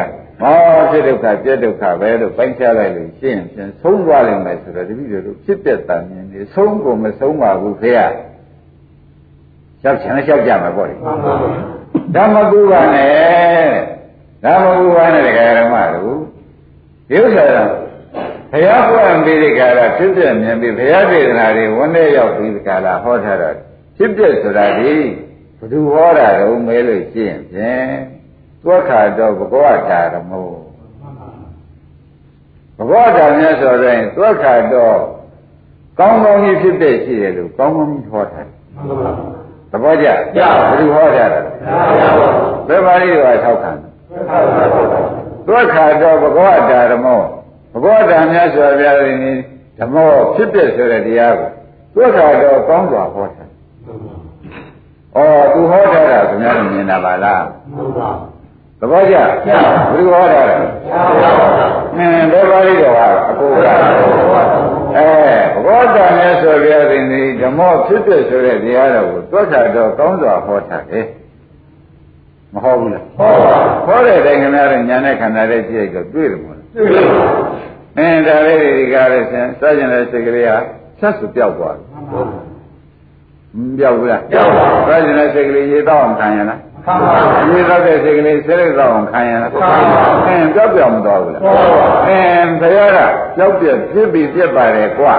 S2: ဟောဖြစ်ဒုက္ခပြက်ဒုက္ခပဲလို့ပိုင်းခြားလိုက်လို့ရှင်းရင်ဆုံးသွားလိမ့်မယ်ဆိုတော့တပည့်တို့ဖြစ်ပြက်တာမြင်နေဆုံးကိုမဆုံးပါဘူးဖေရ။ရောက်ချင်လည်းရောက်ကြမှာပေါ့လေ
S3: မှန်ပါ
S2: ။ဓမ္မကူပါနဲ့ဓမ္မကူပါနဲ့တရားဓမ္မတို့ဒီဥစ္စာကဘုရားဖွင့်ပြီးဒီကရာဖြစ်ပြက်မြင်ပြီးဘုရားဒေသနာတွေဝန်ထဲရောက်ပြီးဒီကရာဟောထားတော့ဖြစ်ပြက်ဆိုတာဒီဘ누구ဟောတာတော့မဲလို့ရှင်းဖြင့်တွက်ခါတော့ဘဂဝတာဓမ္မော ဘဂဝတာမြတ်စွာဘုရားသွက်ခါတော့ကောင်းကောင်းကြီးဖြစ်တဲ့ရှိတယ်လို့ကောင်းကောင်းကြီးဟောတာ
S3: မှန်ပါ
S2: သဘောကျ
S3: ကျပါ
S2: ဘယ်လိုဟောတာလဲ
S3: သာ
S2: ဘ
S3: သာပါ
S2: ယ်ပါဠိတော်ကထောက်ခံ
S3: သာသာပါ
S2: သွက်ခါတော့ဘဂဝတာဓမ္မောဘဂဝတာမြတ်စွာဘုရားရှင်ဒီဓမ္မောဖြစ်တဲ့ဆိုတဲ့တရားကိုသွက်ခါတော့ကောင်းစွာဟောတာအော်သူဟောတာကခင်ဗျားတို့မြင်တာပါလား
S3: မှန်ပါ
S2: သဘောကျဘယ်လိုဟောတာလဲ
S3: သာသာပါ
S2: အင်းဘယ်ပါဠိတော်ကအကိုက အဲဘောဓမြတ်စွာဘုရားရှင်ဒီဓမ္မဖြစ်တဲ့ဆိုတဲ့တရားတော်ကိုသွတ်တာတော့ကောင်းစွာဟောထားတယ်မဟုတ်ဘူးလား
S3: ဟုတ်ပါဘူး
S2: ဟောတဲ့တိုင်ခင်ဗျားတို့ညာနဲ့ခန္ဓာလေးကြည့်လိုက်တော့တွေ့တယ်မဟုတ်လား
S3: သိပါ
S2: အင်းဒါလေးတွေဒီကားလေးဆင်းစကြင်တဲ့စိတ်ကလေးဟာဆက်စုပြောက်သွားတယ်
S3: မှန်
S2: မပြောက်ဘူးလား
S3: ပြောက်ပါဘူး
S2: စကြင်တဲ့စိတ်ကလေးရေတော့အောင်ခံရလား
S3: ပါသာသာ
S2: ရေတော့တဲ့စိတ်ကလေးဆဲလိုက်တော့အောင်ခံရလား
S3: ခံပါဘူး
S2: အင်းပြောက်ပြောင်မသွားဘူးလား
S3: ပါ
S2: အင်းဘုရားကကြောက်ပြက်ဖြစ်ပြီးပြက်ပါတယ်ကွာ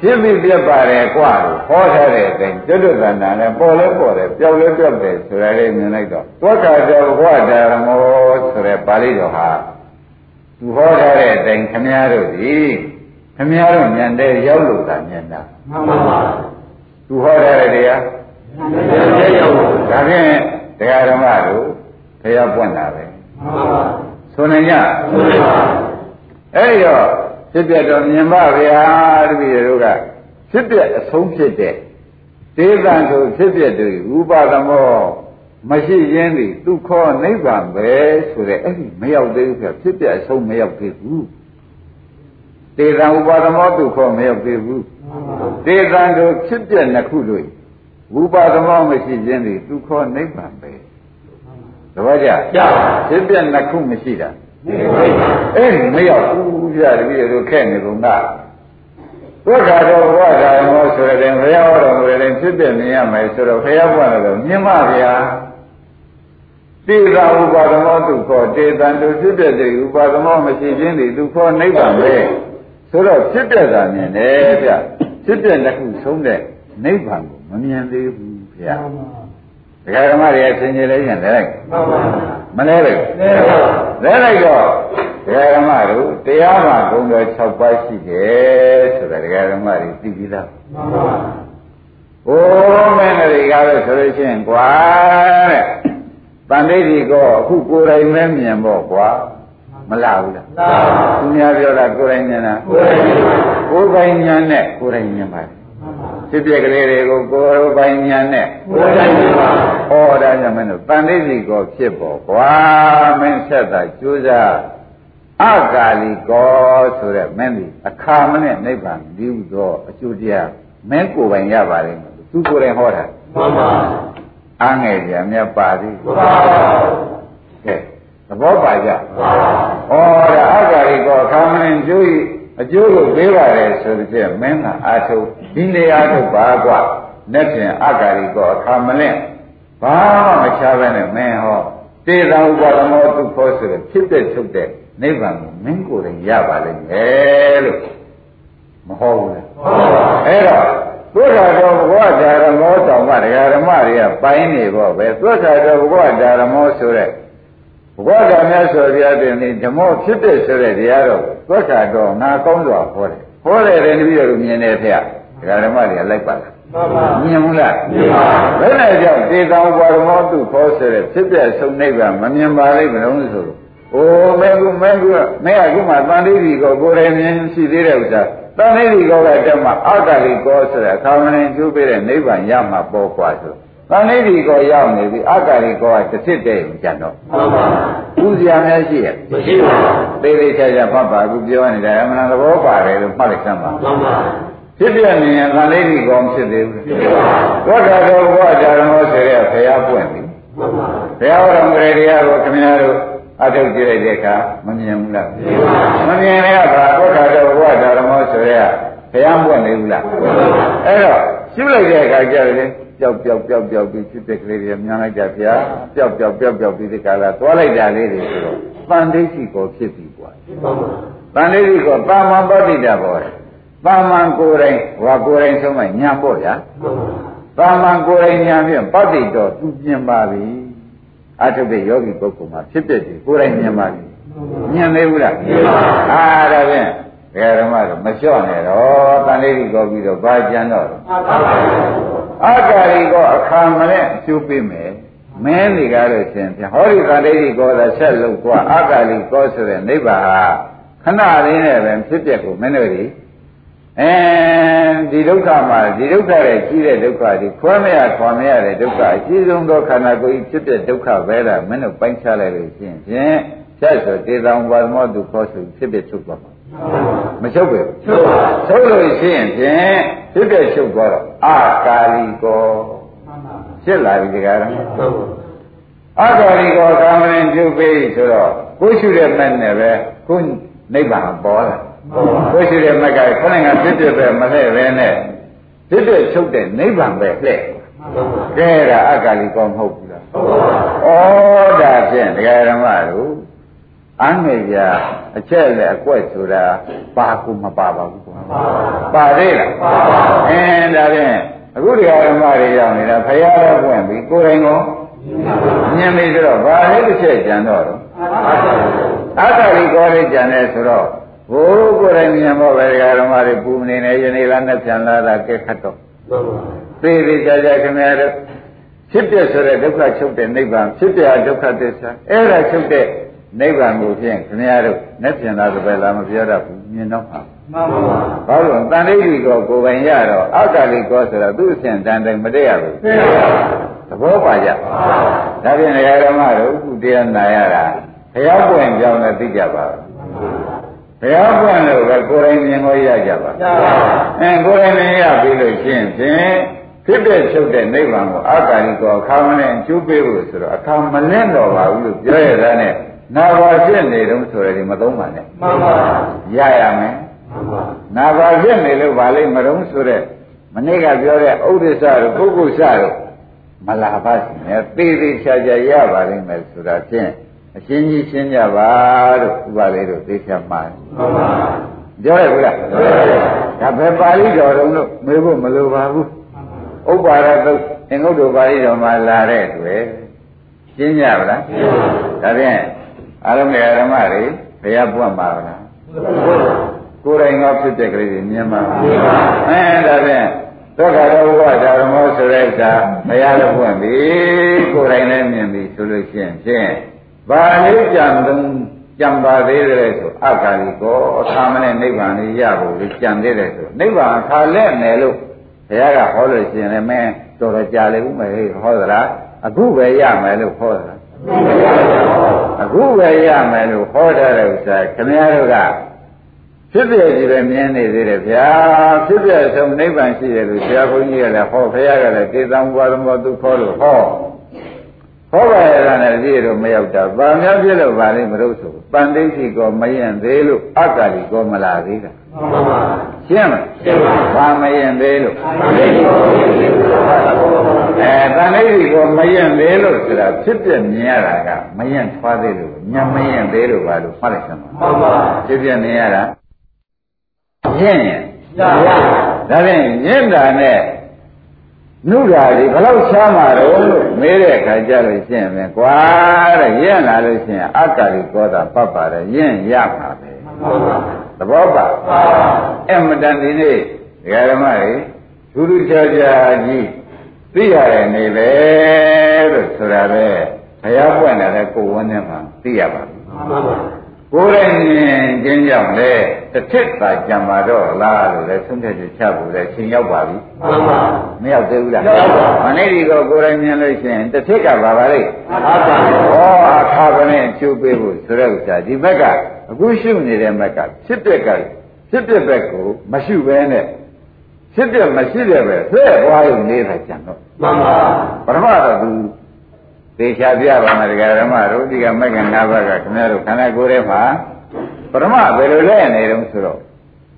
S2: ဖြစ်ပြီးပြက်ပါတယ်ကွာလို့ဟောထားတဲ့အချိန်ကျွတ်တွတ်တန်တန်နဲ့ပေါ်လဲပေါ်တယ်ပျောက်လဲပျောက်တယ်ဆိုတာလေးမြင်လိုက်တော့သောတာတော်ဘုရားဓမ္မောဆိုတဲ့ပါဠိတော်ဟာသူဟောထားတဲ့အချိန်ခမည်းတော်ဒီခမည်းတော်ဉာဏ်တဲ့ရောက်လို့သာမြင်တာ
S3: မှန်ပါပါ
S2: သူဟောထားတဲ့တရား
S3: သိပါရော
S2: ဒါဖြင့်တရားဓမ္မတို့ဘုရားပွင့်တာပဲ
S3: မှန်ပါ
S2: ဆိုနေကြ
S3: သိပါ
S2: အဲ့တော့ဖြစ်ပြတော့မြင်ပါဗျာတပည့်တို့ကဖြစ်ပြအဆုံးဖြစ်တဲ့ဒေသံဆိုဖြစ်ပြတူဥပါဒမောမရှိရင်းသည်သူခေါ်နိဗ္ဗာန်ပဲဆိုတဲ့အဲ့ဒီမရောက်သေးဘူးဆိုတော့ဖြစ်ပြအဆုံးမရောက်သေးဘူးဒေသံဥပါဒမောသူခေါ်မရောက်သေးဘူးဒေသံဆိုဖြစ်ပြနှစ်ခုလို့ဥပါဒမောမရှိရင်းသည်သူခေါ်နိဗ္ဗာန်ပဲတပည့်ကြ
S3: ကြပါ
S2: ဖြစ်ပြနှစ်ခုမရှိတာ
S3: သိပါ
S2: အဲ့ဒီမရောက်ဘူးပြတပည့်တို့ခဲ့နေကုန်တာဒုက္ခတော့ဘဝဓမ္မောဆိုတဲ့ဘုရားဟောတော်မူတဲ့ဖြစ်ပြမြင်ရမယ်ဆိုတော့ဘုရားဘုရားလည်းမြင်ပါဗျာ တေသာဥပါဒမောသူခေါ်တေတံသူဖြစ်တဲ့တေဥပါဒမောမရှိခြင်းသည်သူခေါ်နိဗ္ဗာန်ပဲဆိုတော့ဖြစ်တဲ့သာမြင်တယ်ဗျဖြစ်တဲ့တစ်ခုဆုံးတဲ့နိဗ္ဗာန်ကိုမမြင်သေးဘူးဗျာဒကာဓမ္မတွေအချင်းချင်းလေးရင်လဲလိုက်
S3: ပါပါ
S2: မလဲလိုက်
S3: နေပါ
S2: လဲလိုက်တော့ဒကာဓမ္မတို့တရားမှာဂုဏ်တော်6ပါးရှိတယ်ဆိုတာဒကာဓမ္မတွေသိပြီးသား
S3: ပါပါ
S2: ။အိုးမင်းတွေကတော့ဆိုလို့ရှိရင်ကွာတဲ့။တန်ဋိဒီကောအခုကိုယ်တိုင်မဲမြင်ပေါ့ကွာ။မလားဘူးလား
S3: လာ
S2: ။သူများပြောတာကိုယ်တိုင်မြင်တာ
S3: ကိုယ်ရည်ပါ
S2: ။ကိုယ်ပိုင်ဉာဏ်နဲ့ကိုယ်တိုင်မြင်ပါလေ။ဖြစ်ပျက်ကလေးတွေကိုကိုယ်ပိုင်ဉာဏ်နဲ့
S3: ကိုယ်ရည်ပါ
S2: ဩဒါကြောင့်မင်းတို့တန်ဋိဒီကောဖြစ်ပေါ့ကွာ။မင်းဆက်တာကြိုးစားအကာလီကောဆိုတဲ့မင်းဒီအခါမနဲ့နိဗ္ဗာန်ဒီဥသောအကျိုးတရားမင်းကိုယ်ပိုင်ရပါလိမ့်မယ်သူကိုယ်တိုင်ဟောတာ
S3: ပါပါ
S2: အားငယ်ကြမြတ်ပါသည်
S3: ပါပါ
S2: ကဲသဘောပါကြဩဒါအဂ္ဂရိကောခံမင်းကျိုးဤအကျိုးကိုပေးပါတယ်ဆိုတဲ့ဖြင့်မင်းကအာထုဒီနေရာတို့ပါกว่าလက်ဖြင့်အဂ္ဂရိကောခံမလဲဘာမှမချပဲနဲ့မင်းဟောတေသာဥပါဒမောသူဖို့ဆိုတဲ့ဖြစ်တဲ့ထုတ်တဲ့နိဗ္ဗာန်ကိုမင်းကိုယ်တိုင်ရပါလိမ့်မယ်လို့မဟုတ်ဘူးလား
S3: ပါပါ
S2: အဲ့တော့သုခတော်ဘုရားဓရမောတောင်ကဒကာဓမ္မတွေကပိုင်းနေပေါ့ပဲသုခတော်ဘုရားဓရမောဆိုတဲ့ဘုရားဓမ္မဆိုပြတဲ့နေဓမ္မဖြစ်တဲ့ဆိုတဲ့တရားတော့သုခတော်ငါကောင်းစွာဟောတယ်ဟောတယ်တဲ့တပည့်တော်မြင်တယ်ဖေရဒကာဓမ္မတွေကလိုက်ပါလား
S3: ပါပါ
S2: မြင်ဘူးလား
S3: နေပါ
S2: ဘယ်နဲ့ကြောင့်တေတံဘုရားဓမ္မသူဟောဆိုတဲ့ဖြစ်တဲ့ဆုံးနိဗ္ဗာန်မမြင်ပါလိမ့်မလို့ဆိုလို့အိုးမဲကူမဲကူမဲကူမှတန်လေးကြီးကိုကိုယ်တိုင်မြင်ရှိသေးတဲ့ဥစ္စာတန်လေးကြီးကောကတက်မှအတ္တလေးကောဆိုတဲ့အခါမင်းကျိုးပေးတဲ့နိဗ္ဗာန်ရမှာပေါ်กว่าဆိုတန်လေးကြီးကောရောက်နေပြီအတ္တလေးကောကတစ်စစ်တည်းရင်ကြတော့
S3: ပါပါ
S2: ဥစရာများရှိရဲ့
S3: မရှိပါ
S2: သေးသေးချာချာဖတ်ပါကူပြောနေတာအမှန်တဘောပါတယ်လို့မှတ်လိုက်စမ်းပါ
S3: ဘူးပါပါ
S2: ဖြစ်ပြနေရင်တန်လေးကြီးကောမဖြစ်သေးဘူး
S3: နေပါ
S2: ဝတ္တတော်ဘောဓမ္မောဆိုတဲ့ဖရာပွင့်ပြီ
S3: ပါပါ
S2: ဘုရားဟောတော်မူတဲ့တရားကိုခင်ဗျားတို့အထုတ်ကြည့်လိုက်တဲ့အခါမမြင်ဘူးလား
S3: နေပါ
S2: မမြင်လည်းဘာပုဒ်ခါတော့ဘုရားဓမ္မောဆိုရဲဘုရားမွက်နေဘူးလားအဲ့တော့ရှုလိုက်တဲ့အခါကျတော့လေပျောက်ပျောက်ပျောက်ပျောက်ပြီးဖြစ်တဲ့ကလေးတွေမြန်လိုက်ကြဘုရားပျောက်ပျောက်ပျောက်ပျောက်ပြီးဒီကလာသွားလိုက်တာလေးတွေဆိုတော့တန်ဋိဋ္ဌိကိုဖြစ်ပြီးกว่า
S3: ပါပါ
S2: တန်ဋိဋ္ဌိကိုပါမန်ပဋိဒါဘောတယ်ပါမန်ကိုယ်တိုင်ဟောကိုယ်တိုင်ဆုံးမညာပေါ့ဗျာ
S3: ပါ
S2: သာ
S3: ပါ
S2: မန်ကိုယ်တိုင်ညာဖြင့်ပဋ္ဌိတော်သူမြင်ပါပြီအထုပ်တဲ့ယောဂီပုဂ္ဂိုလ်မှာဖြစ်ပျက်တယ်ကိုယ်တိုင်မြင်ပါပြီမြင်သေးဘူးလားမြင်ပါအာဒါဖြင့်ဘယ်ဓမ္မတော့မလျှော့နဲ့တော့တန်လေးကြီးကောပြီးတော့ဘာကြံတော့လဲ
S3: ပါပါ
S2: အကာရီကောအခါမနဲ့အကျိုးပေးမယ်မင်းတွေကားလို့ရှင်ဖြင့်ဟောဒီတန်လေးကြီးကောသာဆက်လုပ်သွားအကာရီကောဆိုတဲ့နိဗ္ဗာန်ဟာခဏလေးနဲ့ပဲဖြစ်ပျက်ကိုမင်းတို့တွေ အဲဒီဒုက္ခမှာဒီဒုက္ခရဲ့ကြီးတဲ့ဒုက္ခဒီခွဲမရခွာမရတဲ့ဒုက္ခအကြီးဆုံးသောခန္ဓာကိုယ်ကြီးဖြစ်တဲ့ဒုက္ခပဲလားမင်းတို့ပိုင်းခြားလိုက်လို့ရှိရင်ဖြင့်ဆက်ဆိုတေတံဘာမောသူခေါ်ဆိုဖြစ်ဖြစ်ထုတ်သွားမှာမချုပ်ပဲ
S3: သုပါ
S2: ထုတ်လို့ရှိရင်ဖြင့်ဖြစ်ဖြစ်ချုပ်သွားတော့အာကာလိကော
S3: ပါပါ
S2: ဖြစ်လာပြီဒီကရ
S3: သုပါ
S2: အာကာလိကောကာမရင်ပြုတ်ပြီးဆိုတော့ကိုယ်ရှုတဲ့မဲ့နဲ့ပဲကိုယ်နိဗ္ဗာန်ပေါ်လာ
S3: ပါပါ
S2: ကိုရှိတဲ့မကခုနကဖြစ်ဖြစ်ပဲမလှဲ့ပဲနဲ့ဖြစ်ဖြစ်ချုပ်တဲ့နိဗ္ဗာန်ပဲလှဲ့
S3: သုပါ
S2: ကဲဒါအကလိကောမဟုတ်ဘူးလား
S3: သုပါ
S2: ဩဒါဖြင့်တရားဓမ္မတို့အငယ်ပြအချက်နဲ့အကွက်ဆိုတာပါကူမပါပါဘူးကွာပါသေးလားအင်းဒါဖြင့်အခုတရားဓမ္မတွေရောက်နေတာဖရာတော့ပွင့်ပြီကိုယ်တိုင်ကောမြင်ပြီဆိုတော့ဘာလဲတစ်ချက်ကြံတော့တော့ အတ္တရိကောလေးကြံတယ်ဆိုတော့ဘိုးကိုယ်တိုင်မြင်ဖို့ပဲဒကာဓမ္မတွေပူမနေနဲ့ယနေ့လားနဲ့ပြန်လာတာကဲခတ်တော့
S3: သုပါ
S2: သေသေးကြကြခင်ဗျားတို့ဖြစ်ပြဆိုတဲ့ဒုက္ခချုပ်တဲ့နိဗ္ဗာန်ဖြစ်ပြဒုက္ခသစ္စာအဲ့ဒါချုပ်တဲ့နိဗ္ဗာန်ကိုဖြင့်ခင်ဗျားတို့နဲ့ပြန်လာသဘယ်လားမပြောတတ်ဘူးမြင်တော့မှာ
S3: မမပါ
S2: ဘာလို့လဲတန်ဋိဋ္ဌိကောကိုယ်ပိုင်ရတော့အတ္တရိကောဆိုတော့သူ့အစဉ်တန်တိုင်းမတည့်ရဘူး
S3: သေပါ
S2: သဘောပါကြပါဒါဖြင့်ဒကာဓမ္မတို့အခုတရားနာရတာဘုရားပွင့်ကြောင်းလည်းသိကြပါဘူး ဘုရားပွင့်လို့ပဲကိုယ်တိုင်မြင်လို့ရကြပါ
S3: ပါပါ
S2: အဲကိုယ်တိုင်မြင်ရပြီလို့ရှင်းဖြင့်ဖြစ်တဲ့ချုပ်တဲ့နိဗ္ဗာန်ကိုအာကာလိကောအခါမနဲ့ကျိုးပေးဖို့ဆိုတော့အခါမလင့်တော့ပါဘူးလို့ပြောရတာနဲ့နာဘာဖြစ်နေတုံးဆိုရယ်ဒီမသုံးပါနဲ့
S3: မမပါ
S2: ရရမယ်
S3: မမပါ
S2: နာဘာဖြစ်နေလို့ဗာလိမတုံးဆိုတဲ့မနေ့ကပြောတဲ့ဥဒိစ္စတို့ပုဂ္ဂုစ္စတို့ မလာပါစေနဲ့သေသေးချာချာရပါလိမ့်မယ်ဆိုတာဖြင့်အရှင်းကြီးရှင်းကြပါလို့ဥပါလေတို့သိချင်ပါတယ်
S3: မှန်ပါ
S2: ပြောရဘူးလားဒါပဲပါဠိတော်တုံးလို့မေးဖို့မလိုပါဘူးဥပ္ပါရသုတ်သင်္ကုတ်တို့ပါဠိတော်မှာလာတဲ့တွေ့ရှင်းကြပါလားဒါဖြင့်အာရမေအာရမတွေဘုရားပွတ်ပါဗလားကိုယ်တိုင်ကဖြစ်တဲ့ကလေးတွေမြင်ပါဘူးအဲဒါဖြင့်သောကရောဝဓမ္မောဆိုတဲ့ကဘုရားလည်းပွင့်ပြီကိုယ်တိုင်လည်းမြင်ပြီဆိုလို့ရှိရင်ဖြင့်ဘာလေးကြံတုံး ကြံပါသေးတယ်ဆိုအက္ခာလိကောသာမနဲ့နိဗ္ဗာန်လေးရဖို့လေကြံသေးတယ်ဆိုနိဗ္ဗာန်ခါလက်နယ်လို့ဘုရားကဟောလို့ရှိရင်လည်းမင်းတော်တော်ကြာလေဦးမယ်ဟေ့ဟောသလားအခုပဲရမယ်လို့ဟောသလားအခုပဲရမယ်လို့ဟောထားတဲ့ဥစ္စာခင်ဗျားတို့ကဖြစ်ပြကြီးပဲမြင်နေသေးတယ်ဗျာဖြစ်ပြအဆုံးနိဗ္ဗာန်ရှိတယ်လို့ဆရာဘုန်းကြီးကလည်းဟောဘုရားကလည်းတေသံဝါရမောသူခေါ်လို့ဟော ဟောပါရတာနဲ့ပြည့်တော့မရောက်တာ။ဗာများပြည့်လို့ဗာလေးမလို့ဆို။ပန္တိတိကောမယင်သေးလို့အက္ကလိကောမလာသေးတာ
S3: မှန်ပါ
S2: ။ရှင်းမလား။ရှင်းပါဘူး။ဗာမယင်သေးလို့အဲပန္တိတိကောမယင်သေးလို့ဆိုတာဖြစ်ပြမြင်ရတာကမယင်ထွားသေးလို့ညမယင်သေးလို့ဗာလို့မှတ်လိုက်စမ်းပါ
S3: မှန်ပါ
S2: ။ဖြစ်ပြမြင်ရတာညင်ရင်
S3: ရရ
S2: ဒါဖြင့်ညင်တာနဲ့နုဓာဒီဘယ်လောက်ရှားမှာတော့လို့မေးတဲ့အခါကျလို့ရှင်းမယ်ကွာတဲ့ညင်လာလို့ရှင်းအက္ကလိကောတာပတ်ပါတယ်ညင်ရပါပဲ။
S3: မှန်ပါ
S2: သဘောပါအမတန်ဒီနေ့ဒကာဓမ္မတွေထူးထူးခြားခြားကြီးသိရတယ်နေပဲလို့ဆိုတာပဲဘုရားပွင့်လာတဲ့ကိုယ်ဝန်းထဲမှာသိရပါဘူး
S3: မှန်ပါ
S2: ကိုယ်တိုင်မြင်ခြင်းကြောင့်လေတစ်ထစ်သာကြံပါတော့လားလို့လည်းဆုံးဖြတ်ချက်ချဖို့လည်းချိန်ရောက်ပါပြီ
S3: မှန်ပါ
S2: မရောက်သေးဘူးလား
S3: ရောက်ပါဘူး
S2: မနေ့ဒီကကိုယ်တိုင်မြင်လို့ရှိရင်တစ်ထစ်ကပါပါလိမ့်
S3: အာသာ
S2: ဩအခါကနဲ့ကျိုးပေးဖို့ဆိုတဲ့ဥစ္စာဒီဘက်ကအခုရှုနေတဲ့ဘက်ကဖြစ်ပြက်ကဖြစ်ပြက်ဘက်ကိုမရှုဘဲနဲ့ဖြစ်ပြက်မရှိတဲ့ဘက်ဆွဲသွားရုံနေတာကြံတော့
S3: မှန်ပါ
S2: ပရမတော့သူသေချာပြပါမယ်ဒကာဓမ္မတို့ဒီကမက္ကနာဘက်ကခင်ဗျားတို့ခန္ဓာကိုယ်ထဲမှာပရမဘယ်လိုလဲနေတုံးဆိုတော့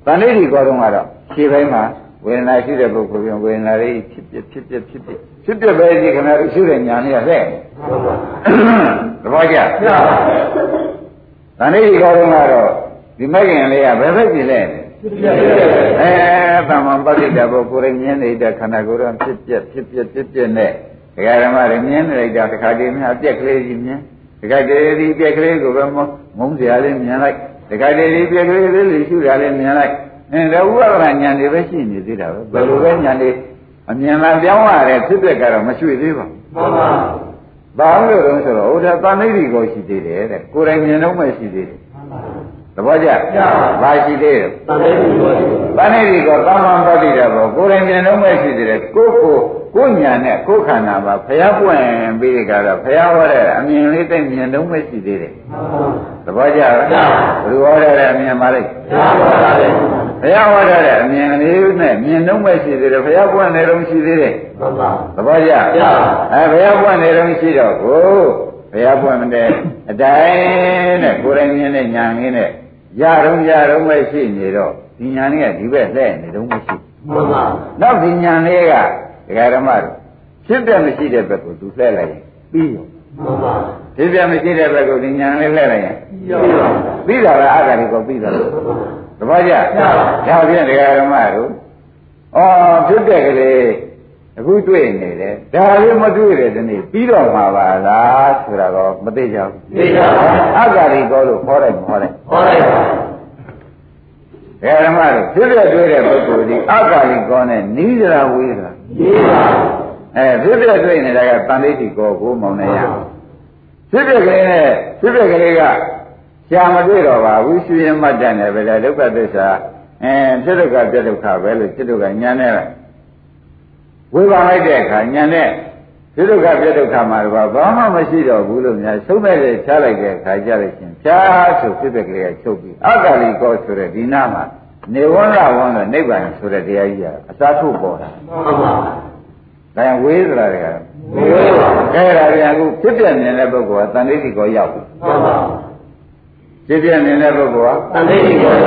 S2: တဏှိဒီကောတော့ကတော့ခြေပိုင်းမှာဝေဒနာရှိတဲ့ပုဂ္ဂိုလ်ပြန်ဝေဒနာလေးဖြစ်ပြက်ဖြစ်ပြက်ဖြစ်ပြက်ဖြစ်ပြက်ပဲဒီခင်ဗျားတို့ရှုတဲ့ညာလေးကလက်နေ
S3: မှန်ပါ
S2: သဘောကျ
S3: ရပါ
S2: ။တဏှိဒီကောင်းကတော့ဒီမဂ္ဂင်လေးကဘယ်ဘက်ကြည့်လဲ
S3: ဖြစ်ဖြစ်ဖြစ်
S2: ။အဲတမ္မာပဋိစ္စဘောကိုယ်ရင်မြင်နေတဲ့ခန္ဓာကိုယ်ကဖြစ်ပြက်ဖြစ်ပြက်ဖြစ်ပြက်နဲ့ဒကာဓမ္မတွေမြင်နေလိုက်တာတစ်ခါတည်းများအပြက်ကလေးကြီးမြင်။တစ်ခါတည်းဒီအပြက်ကလေးကိုပဲမုန်းငုံစရာလေးမြင်လိုက်။တစ်ခါတည်းဒီအပြက်ကလေးလေးလေးရှုတာလေးမြင်လိုက်။အဲဒါဥပဒနာညာတွေပဲရှိနေသေးတာပဲ။ဘယ်လိုပဲညာတွေအမြင်လာပြောင်းရတဲ့ဖြစ်ပြက်ကတော့မရွှေ့သေးပါဘူး။
S3: မှန်ပါ
S2: ။ဘာလို့လဲဆိုတော့ဟိုဒါသံသိတိကိုရှိသေးတယ်တဲ့။ကိုယ်တိုင်မြင်တော့မှရှိသေးတယ်
S3: မှန်ပါ
S2: ။သဘောကျ။ဘာရှိသေးလဲ
S3: တန်တဲ့ဒီလို
S2: ။သံသိတိကိုသံဃာပတိတာပေါ့ကိုယ်တိုင်မြင်တော့မှရှိသေးတယ်။ကိုယ့်ကိုယ်ကိုယ်ညာနဲ့ကိုယ်ခန္ဓာမှာဖျားပွင့်ပြီးတဲ့ကတော့ဖျားဟောတဲ့အမြင်လေးသိမြင်တော့မှရှိသေးတယ်
S3: မှန်ပါ
S2: ။သဘောကျလား။ဘယ်လိုဟောတဲ့အမြင်ပါလိမ့်
S3: ရပါတယ်
S2: ။ဖျားဟောတဲ့အမြင်လေးနဲ့မြင်တော့မှရှိသေးတယ်။ဖျားပွင့်နေတော့ရှိသေးတယ်။
S3: မှန်ပါ
S2: သဘောကျ
S3: ကျပါ
S2: အဲဘုရားပွင့်နေတော့ရှိတော့ကိုဘုရားပွင့်မတဲ့အတိုင်းနဲ့ကိုယ်တိုင်မြင်တဲ့ညာငင်းနဲ့ရတော့ရတော့မရှိနေတော့ဒီညာလေးကဒီဘက်လှည့်နေတော့မရှိ
S3: မှန်ပါ
S2: နောက်ဒီညာလေးကဒကာဓမ္မတို့ဖြစ်ပြမရှိတဲ့ဘက်ကိုသူလှည့်လိုက်ရင်ပြီးရော
S3: မှန်ပါ
S2: ဖြစ်ပြမရှိတဲ့ဘက်ကိုဒီညာလေးလှည့်လိုက်ရင်
S3: ရပါ
S2: ပြီးတာလားအာဂါရီကိုပြီးတာလားသဘောကျဒါဖြင့်ဒကာဓမ္မတို့အော်ဖြစ်တဲ့ကလေးအခုတွေ့နေတယ်ဒါလေးမတွေ့တဲ့ဒီနေ့ပြီးတော့မှာပါလားဆိုတာတော့မသိကြဘူး
S3: သိကြပါဘူး
S2: အာဂါရီကိုလို့ခေါ်လိုက်မခေါ်လိုက်
S3: ဟောလိုက်ပါ
S2: ဒကာဓမ္မတို့ဖြစ်တဲ့တွေ့တဲ့ပုဂ္ဂိုလ်ဒီအာဂါရီကိုနဲ့နိဒရာဝေးတာ
S3: ရေးပါ
S2: အဲဖြစ်တဲ့တွေ့နေတာကတန်ဋိတိကိုကိုမောင်နေရအောင် ဖြစ်ဖြစ်ကလေးနဲ့ဖြစ်ဖြစ်ကလေးကရှာမတွေ့တော့ပါဘူးရှင်ရင်မတ်တန်တယ်ပဲလေဒုက္ခသစ္စာအင်းဖြစ်ဒုက္ခပြဒုက္ခပဲလို့ဖြစ်ဒုက္ခညာနဲ့ဝေဘာလိုက်တဲ့အခါညာနဲ့ဖြစ်ဒုက္ခပြဒုက္ခမှာတော့ဘာမှမရှိတော့ဘူးလို့များဆုံးမဲ့လေချလိုက်တဲ့အခါကြလိုက်ချင်းဖြားဆိုဖြစ်ဖြစ်ကလေးကချုပ်ပြီးအက္ခလီကောဆိုတဲ့ဒီနာမှာနေဝန္ဒဝန္ဒနိဗ္ဗာန်ဆိုတဲ့တရားကြီးကအစားထုတ်ပေါ်တာ
S3: မှန်ပါ
S2: ဒါရင်ဝေးစရာတွေက
S3: ရေးပါ
S2: အဲဒါကအခုဖြစ်ပြနေတဲ့ပုဂ္ဂိုလ်ကတန်ဋိတိကောရောက်ဘူး
S3: မှန်ပါ
S2: ဖြစ်ပြနေတဲ့ပုဂ္ဂိုလ်
S3: တန်တဲ့ဒီလို
S2: ဟာ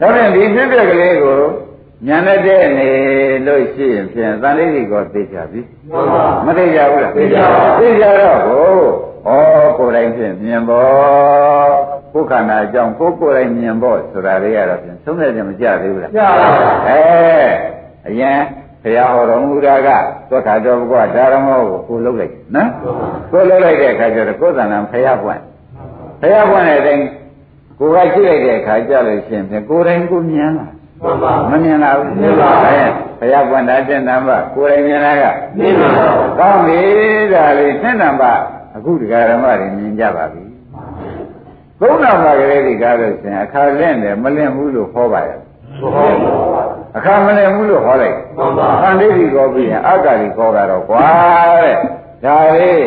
S2: ဒါဖြင့်ဒီဖြစ်ပြကလေးကို ဉာဏ်နဲ့တဲ့နေလို့ရှိရင်ဖြင့်သံဃိတိကောသိကြပြီ
S3: မှန်ပါ
S2: မသိကြဘူးလား
S3: သိကြပါဘူး
S2: သိကြတော့ကိုဩကိုယ်တိုင်ဖြင့်မြင်ဖို့ကိုယ်ခန္ဓာအကြောင်းကိုယ်ကိုယ်တိုင်မြင်ဖို့ဆိုတာလေးကတော့ဖြင့်သုံးတဲ့ချက်မကြသေးဘူးလား
S3: ရပါပါ
S2: အဲအရင်ဘုရားဟောတော်မူတာကသောတာတော်ဘုရားဒါရမောကိုကိုလှုပ်လိုက်နော်ကိုလှုပ်လိုက်တဲ့အခါကျတော့ကိုယ်သဏ္ဍာန်ဘုရားပွင့်ဘုရားပွင့်တဲ့အချိန်ကိုယ်ကကြည့်လိုက်တဲ့အခါကျလို့ရှိရင်ဖြင့်ကိုယ်တိုင်ကိုမြင်လာ
S3: မှန်ပါ
S2: မမြင်လာဘူး
S3: မြင်ပါဘူး
S2: အဲဘုရားပွင့်တာတင်တံပါကိုယ်တိုင်မြင်တာက
S3: မြင်ပါပါ
S2: ကောင်းပြီဒါလေးတင်တံပါအခုတရားဓမ္မတွေမြင်ကြပါပြီသုံးနာပါကလေးဒီကားလို့ရှိရင်အခါလင့်တယ်မလင့်ဘူးလို့ဟောပါရဲ့
S3: ဘုရားပါ
S2: အခါမလဲဘူးလို့ဟောလိုက်
S3: မှန်ပါ
S2: သံဒိဋ္ဌိကောပြီးရင်အဂ္ဂါရီကောတာတော့ကွာတဲ့ဒါလေး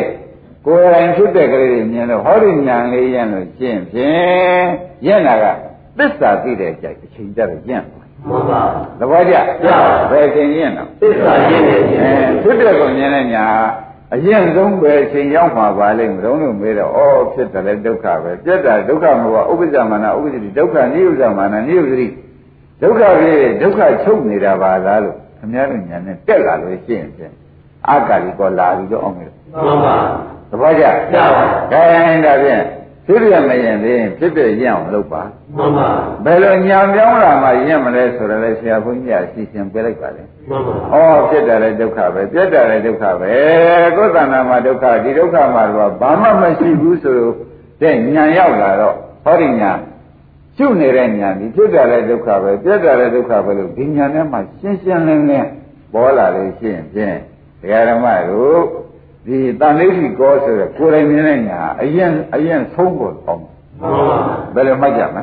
S2: ကိုယ်တိုင်ဖြစ်တဲ့ကလေးတွေမြင်လို့ဟောဒီဉာဏ်လေးရင့်လို့ရှင်းဖြင့်ရင့်တာကသစ္စာသိတဲ့ကြိုက်အချိန်ကြတော့ရင့်သွား
S3: မှန်ပါ
S2: သဘောကျဘယ်အချိန်ရင့်တော့
S3: သစ္စာရင်းနေခြင်း
S2: အဲဖြစ်တဲ့ကိုမြင်တဲ့ညာအရင်ဆုံးပဲအချိန်ရောက်မှာပါလိမ့်မလို့လို့မေးတော့ဩဖြစ်တယ်လေဒုက္ခပဲပြတ်တာဒုက္ခမဟုတ်ဘူးဥပ္ပဇ္ဇမာနဥပ္ပဇ္ဇတိဒုက္ခနိဥပ္ပဇ္ဇမာနနိဥပ္ပဇ္ဇတိ ဒုက္ခပဲဒုက္ခချုပ်နေတာပါလားလို့ခမည်းတော်ညာနဲ့တက်လာလို့ရှိရင်ဖြင့်အက္ခလိကောလာပြီးတော့အောင်မယ်
S3: မှန်ပါ
S2: သဘောကျ
S3: ရပါ
S2: ခိုင်းတာဖြင့်ဖြစ်ပြမရင်ဖြင့်ဖြစ်ပြရအောင်လုပ်ပါ
S3: မှန်ပါ
S2: ဘယ်လိုညာပြောင်းလာမှရင့်မလဲဆိုတော့လေဆရာဘုန်းကြီးကအစီအစဉ်ပေးလိုက်ပါလေ
S3: မှန်ပါ
S2: ဩဖြစ်တယ်လေဒုက္ခပဲပြတ်တယ်လေဒုက္ခပဲကိုယ်တဏ္ဍာမှာဒုက္ခဒီဒုက္ခမှာတော့ဘာမှမရှိဘူးဆိုတော့တဲ့ညာရောက်လာတော့ဟောဒီညာ ကျုပ်နေတဲ့ညာဒီဖြစ်တာလည်းဒုက္ခပဲပြတ်တာလည်းဒုက္ခပဲလို့ဒီညာထဲမှာရှင်းရှင်းလင်းလင်းပေါ်လာလို့ရှိရင်ဖြင့်တရားဓမ္မတို့ဒီတန်လေးကြီးကောဆိုတဲ့ကိုယ်တိုင်မြင်တဲ့ညာအရင်အရင်ဆုံးဖို့ပေါ့
S3: မှန်ပါ
S2: ဘယ်လိုမှတ်ကြမလဲ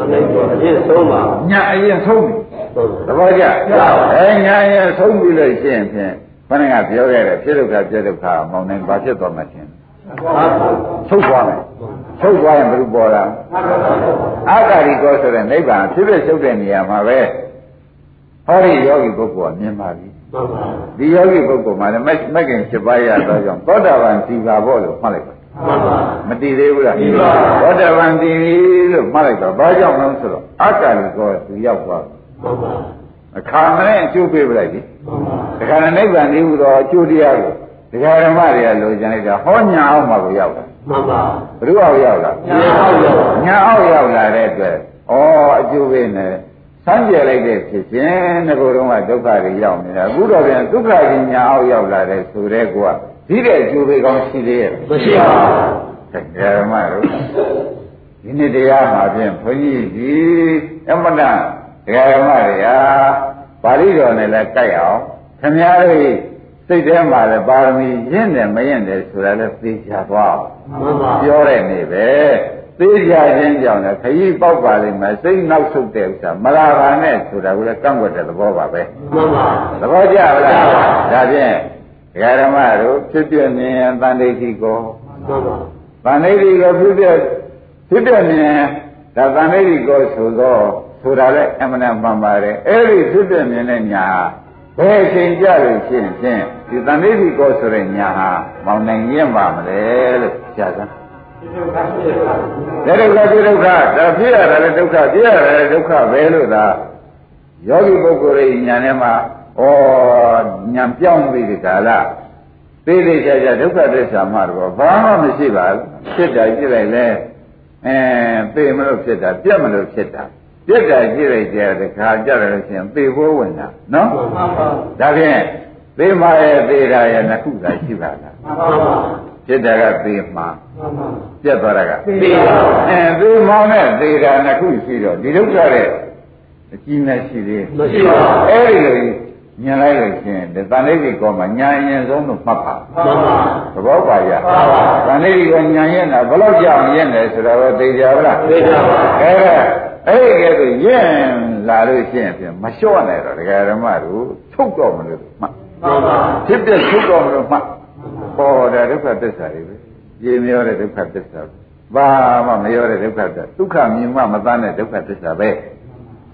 S3: အမေတို့အရင်ဆုံးပါ
S2: ညာအရင်ဆုံးပြီ
S3: ဟုတ်
S2: သဘောကျ
S3: ကျပါပါ
S2: အဲညာအရင်ဆုံးပြီလို့ရှိရင်ဖြင့်ဘယ်နှကပြောခဲ့တယ်ဖြစ်ဒုက္ခပြတ်ဒုက္ခမောင်းနေဘာဖြစ်သွားမှချင်း
S3: ပါ
S2: ထုတ်သွားမယ်ထုတ်သွားရင်ဘယ်လိုပေါ်လာလဲ အာဂါရီကောဆိုတဲ့နိဗ္ဗာန်ဖြစ်ဖြစ်ရှုပ်တဲ့နေရာမှာပဲဟောဒီယောဂီပုဂ္ဂိုလ်ကမြင်ပါပြီ
S3: မှန်ပါ
S2: ဒီယောဂီပုဂ္ဂိုလ်မှာလည်းမက်မက်ကင်7ပါးရတော့ကြောင့်သောတာပန်တည်ပါဖို့လို့မှတ်လိုက်ပါ
S3: မှန်ပါ
S2: မတည်သေးဘူးလား
S3: တည်ပါဘူး
S2: သောတာပန်တည်ပြီလို့မှတ်လိုက်ပါဘာကြောင့်လဲဆိုတော့အာဂါရီကောသူရောက်သွားပြီ
S3: မှန်ပါ
S2: အခါမနဲ့အကျိုးပေးပလိုက်ပြီ
S3: မှန်ပါ
S2: ဒကာရနိဗ္ဗာန်တည်ဟူသောအကျိုးတရားကိုဒကာရမတွေကလိုချင်လိုက်တာဟောညာအောင်မှာကိုရောက်တာ
S3: မှန်ပါ
S2: ဘယ်သူအောင်ရောက်လား
S3: ညာဟုတ်ရော
S2: ညာအောင်ရောက်လာတဲ့အတွက်ဩအကျိုးပဲနဲ့စမ်းကြယ်လိုက်တဲ့ဖြစ်ခြင်းငကိုယ်တော့ကဒုက္ခတွေရောက်နေတာအခုတော့ပြန်ဒုက္ခကြီးညာအောင်ရောက်လာတဲ့ဆိုတဲ့ကွာဒီတဲ့အကျိုးပဲကောင်းရှိသေးရဲ့
S3: မရှိပါ
S2: ဓမ္မတို့ဒီနေ့တရားမှာဖြင့်ဘုန်းကြီးဒီအမတန်ဓမ္မတွေဟာပါဠိတော်နဲ့လည်းကြိုက်အောင်ခမည်းတော်ကြီးစိတ်ထဲမှာလည်းပါရမီရင့်တယ်မရင့်တယ်ဆိုတာလည်းသိချသွားအောင်
S3: မှန်ပါ
S2: ပြောတဲ့နေပဲသိကြခြင်းကြောင့်လည်းခရီးပေါက်ပါလိမ့်မယ်စိတ်နောက်ဆုတ်တဲ့ဥစ္စာမလာပါနဲ့ဆိုတာကိုလည်းကန့်ကွက်တဲ့သဘောပါပဲ
S3: မှန်ပါ
S2: သဘောကျပါလားဒါဖြင့်ဒကာဓမ္မတို့ဖြစ်ပြမြင်ရင်တန်ဋိဋ္ဌိကို
S3: မှန်
S2: တ
S3: ပါ
S2: န်ဋိဋ္ဌိကိုဖြစ်ပြဖြစ်ပြမြင်ရင်ဒါတန်ဋိဋ္ဌိကိုဆိုတော့ဆိုတာလည်းအမှန်တန်မှန်ပါတယ်အဲ့ဒီဖြစ်ပြမြင်တဲ့ညာဟာဘယ်အချိန်ကြလို့ရှိရင်ဖြင့်ဒီတန်ဋိဋ္ဌိကိုဆိုတဲ့ညာဟာမောင်နိုင်ရင့်ပါမလဲလို့ကြာစမ်း ဒါဒုက္ခဒီဒုက္ခဒါဖြစ်ရတာလည်းဒုက္ခပြရတာလည်းဒုက္ခပဲလို့သာယောဂီပုဂ္ဂိုလ်ရဲ့ဉာဏ်ထဲမှာဩဉာဏ်ပြောင်းပြီးဒီကာလသိသိချာချာဒုက္ခသစ္စာမှတော့ဘာမှမရှိပါဘူးဖြစ်တာကြည့်လိုက်လဲအဲသိမလို့ဖြစ်တာပြတ်မလို့ဖြစ်တာပြတ်တာကြည့်လိုက်ကြတဲ့ခါကြတယ်လို့ရှိရင်သိဖို့ဝင်တာနော်
S3: မှန်ပါ
S2: ဒါဖြင့်သိမှရဲ့သိတာရဲ့နှစ်ခုသာရှိပါလား
S3: မှန်ပါ
S2: ဖြစ်တာကသိမှ
S3: မှန်ပါ
S2: ပြတ်သွားတာက
S3: သိပါ
S2: အဲသေမောင်းနဲ့သေတာနှစ်ခုရှိတော့ဒီဒုက္ခတဲ့အကြီးနဲ့ရှိသေးတယ်
S3: မရှိပါ
S2: အဲဒီလိုညင်လိုက်လို့ရှင်ဒီတန်လေးကြီးကောမှာညာရင်ဆုံးလို့မှတ်ပါ
S3: မှန်ပါ
S2: သဘောပါရ
S3: ပါပါ
S2: တန်လေးကြီးကညာရင်တာဘယ်လောက်ကြောင်ရင်လဲဆိုတော့သေကြပါလား
S3: သိကြပါ
S2: အဲဒါအဲ့ဒီကဲဆိုရင်လာလို့ရှင်ဖြင့်မလျှော့နိုင်တော့ဒကာဓမ္မတို့ထုတ်တော့မလို့မှတ်
S3: မှန်ပါ
S2: ဖြစ်ပြထုတ်တော့မလို့မှတ်ဟောဒါဒုက္ခသစ္စာတွေပဲရေမြောတဲ့ဒုက္ခသစ္စာပဲဘာမှမရောတဲ့ဒုက္ခသစ္စာဒုက္ခမြင်မှမသားတဲ့ဒုက္ခသစ္စာပဲ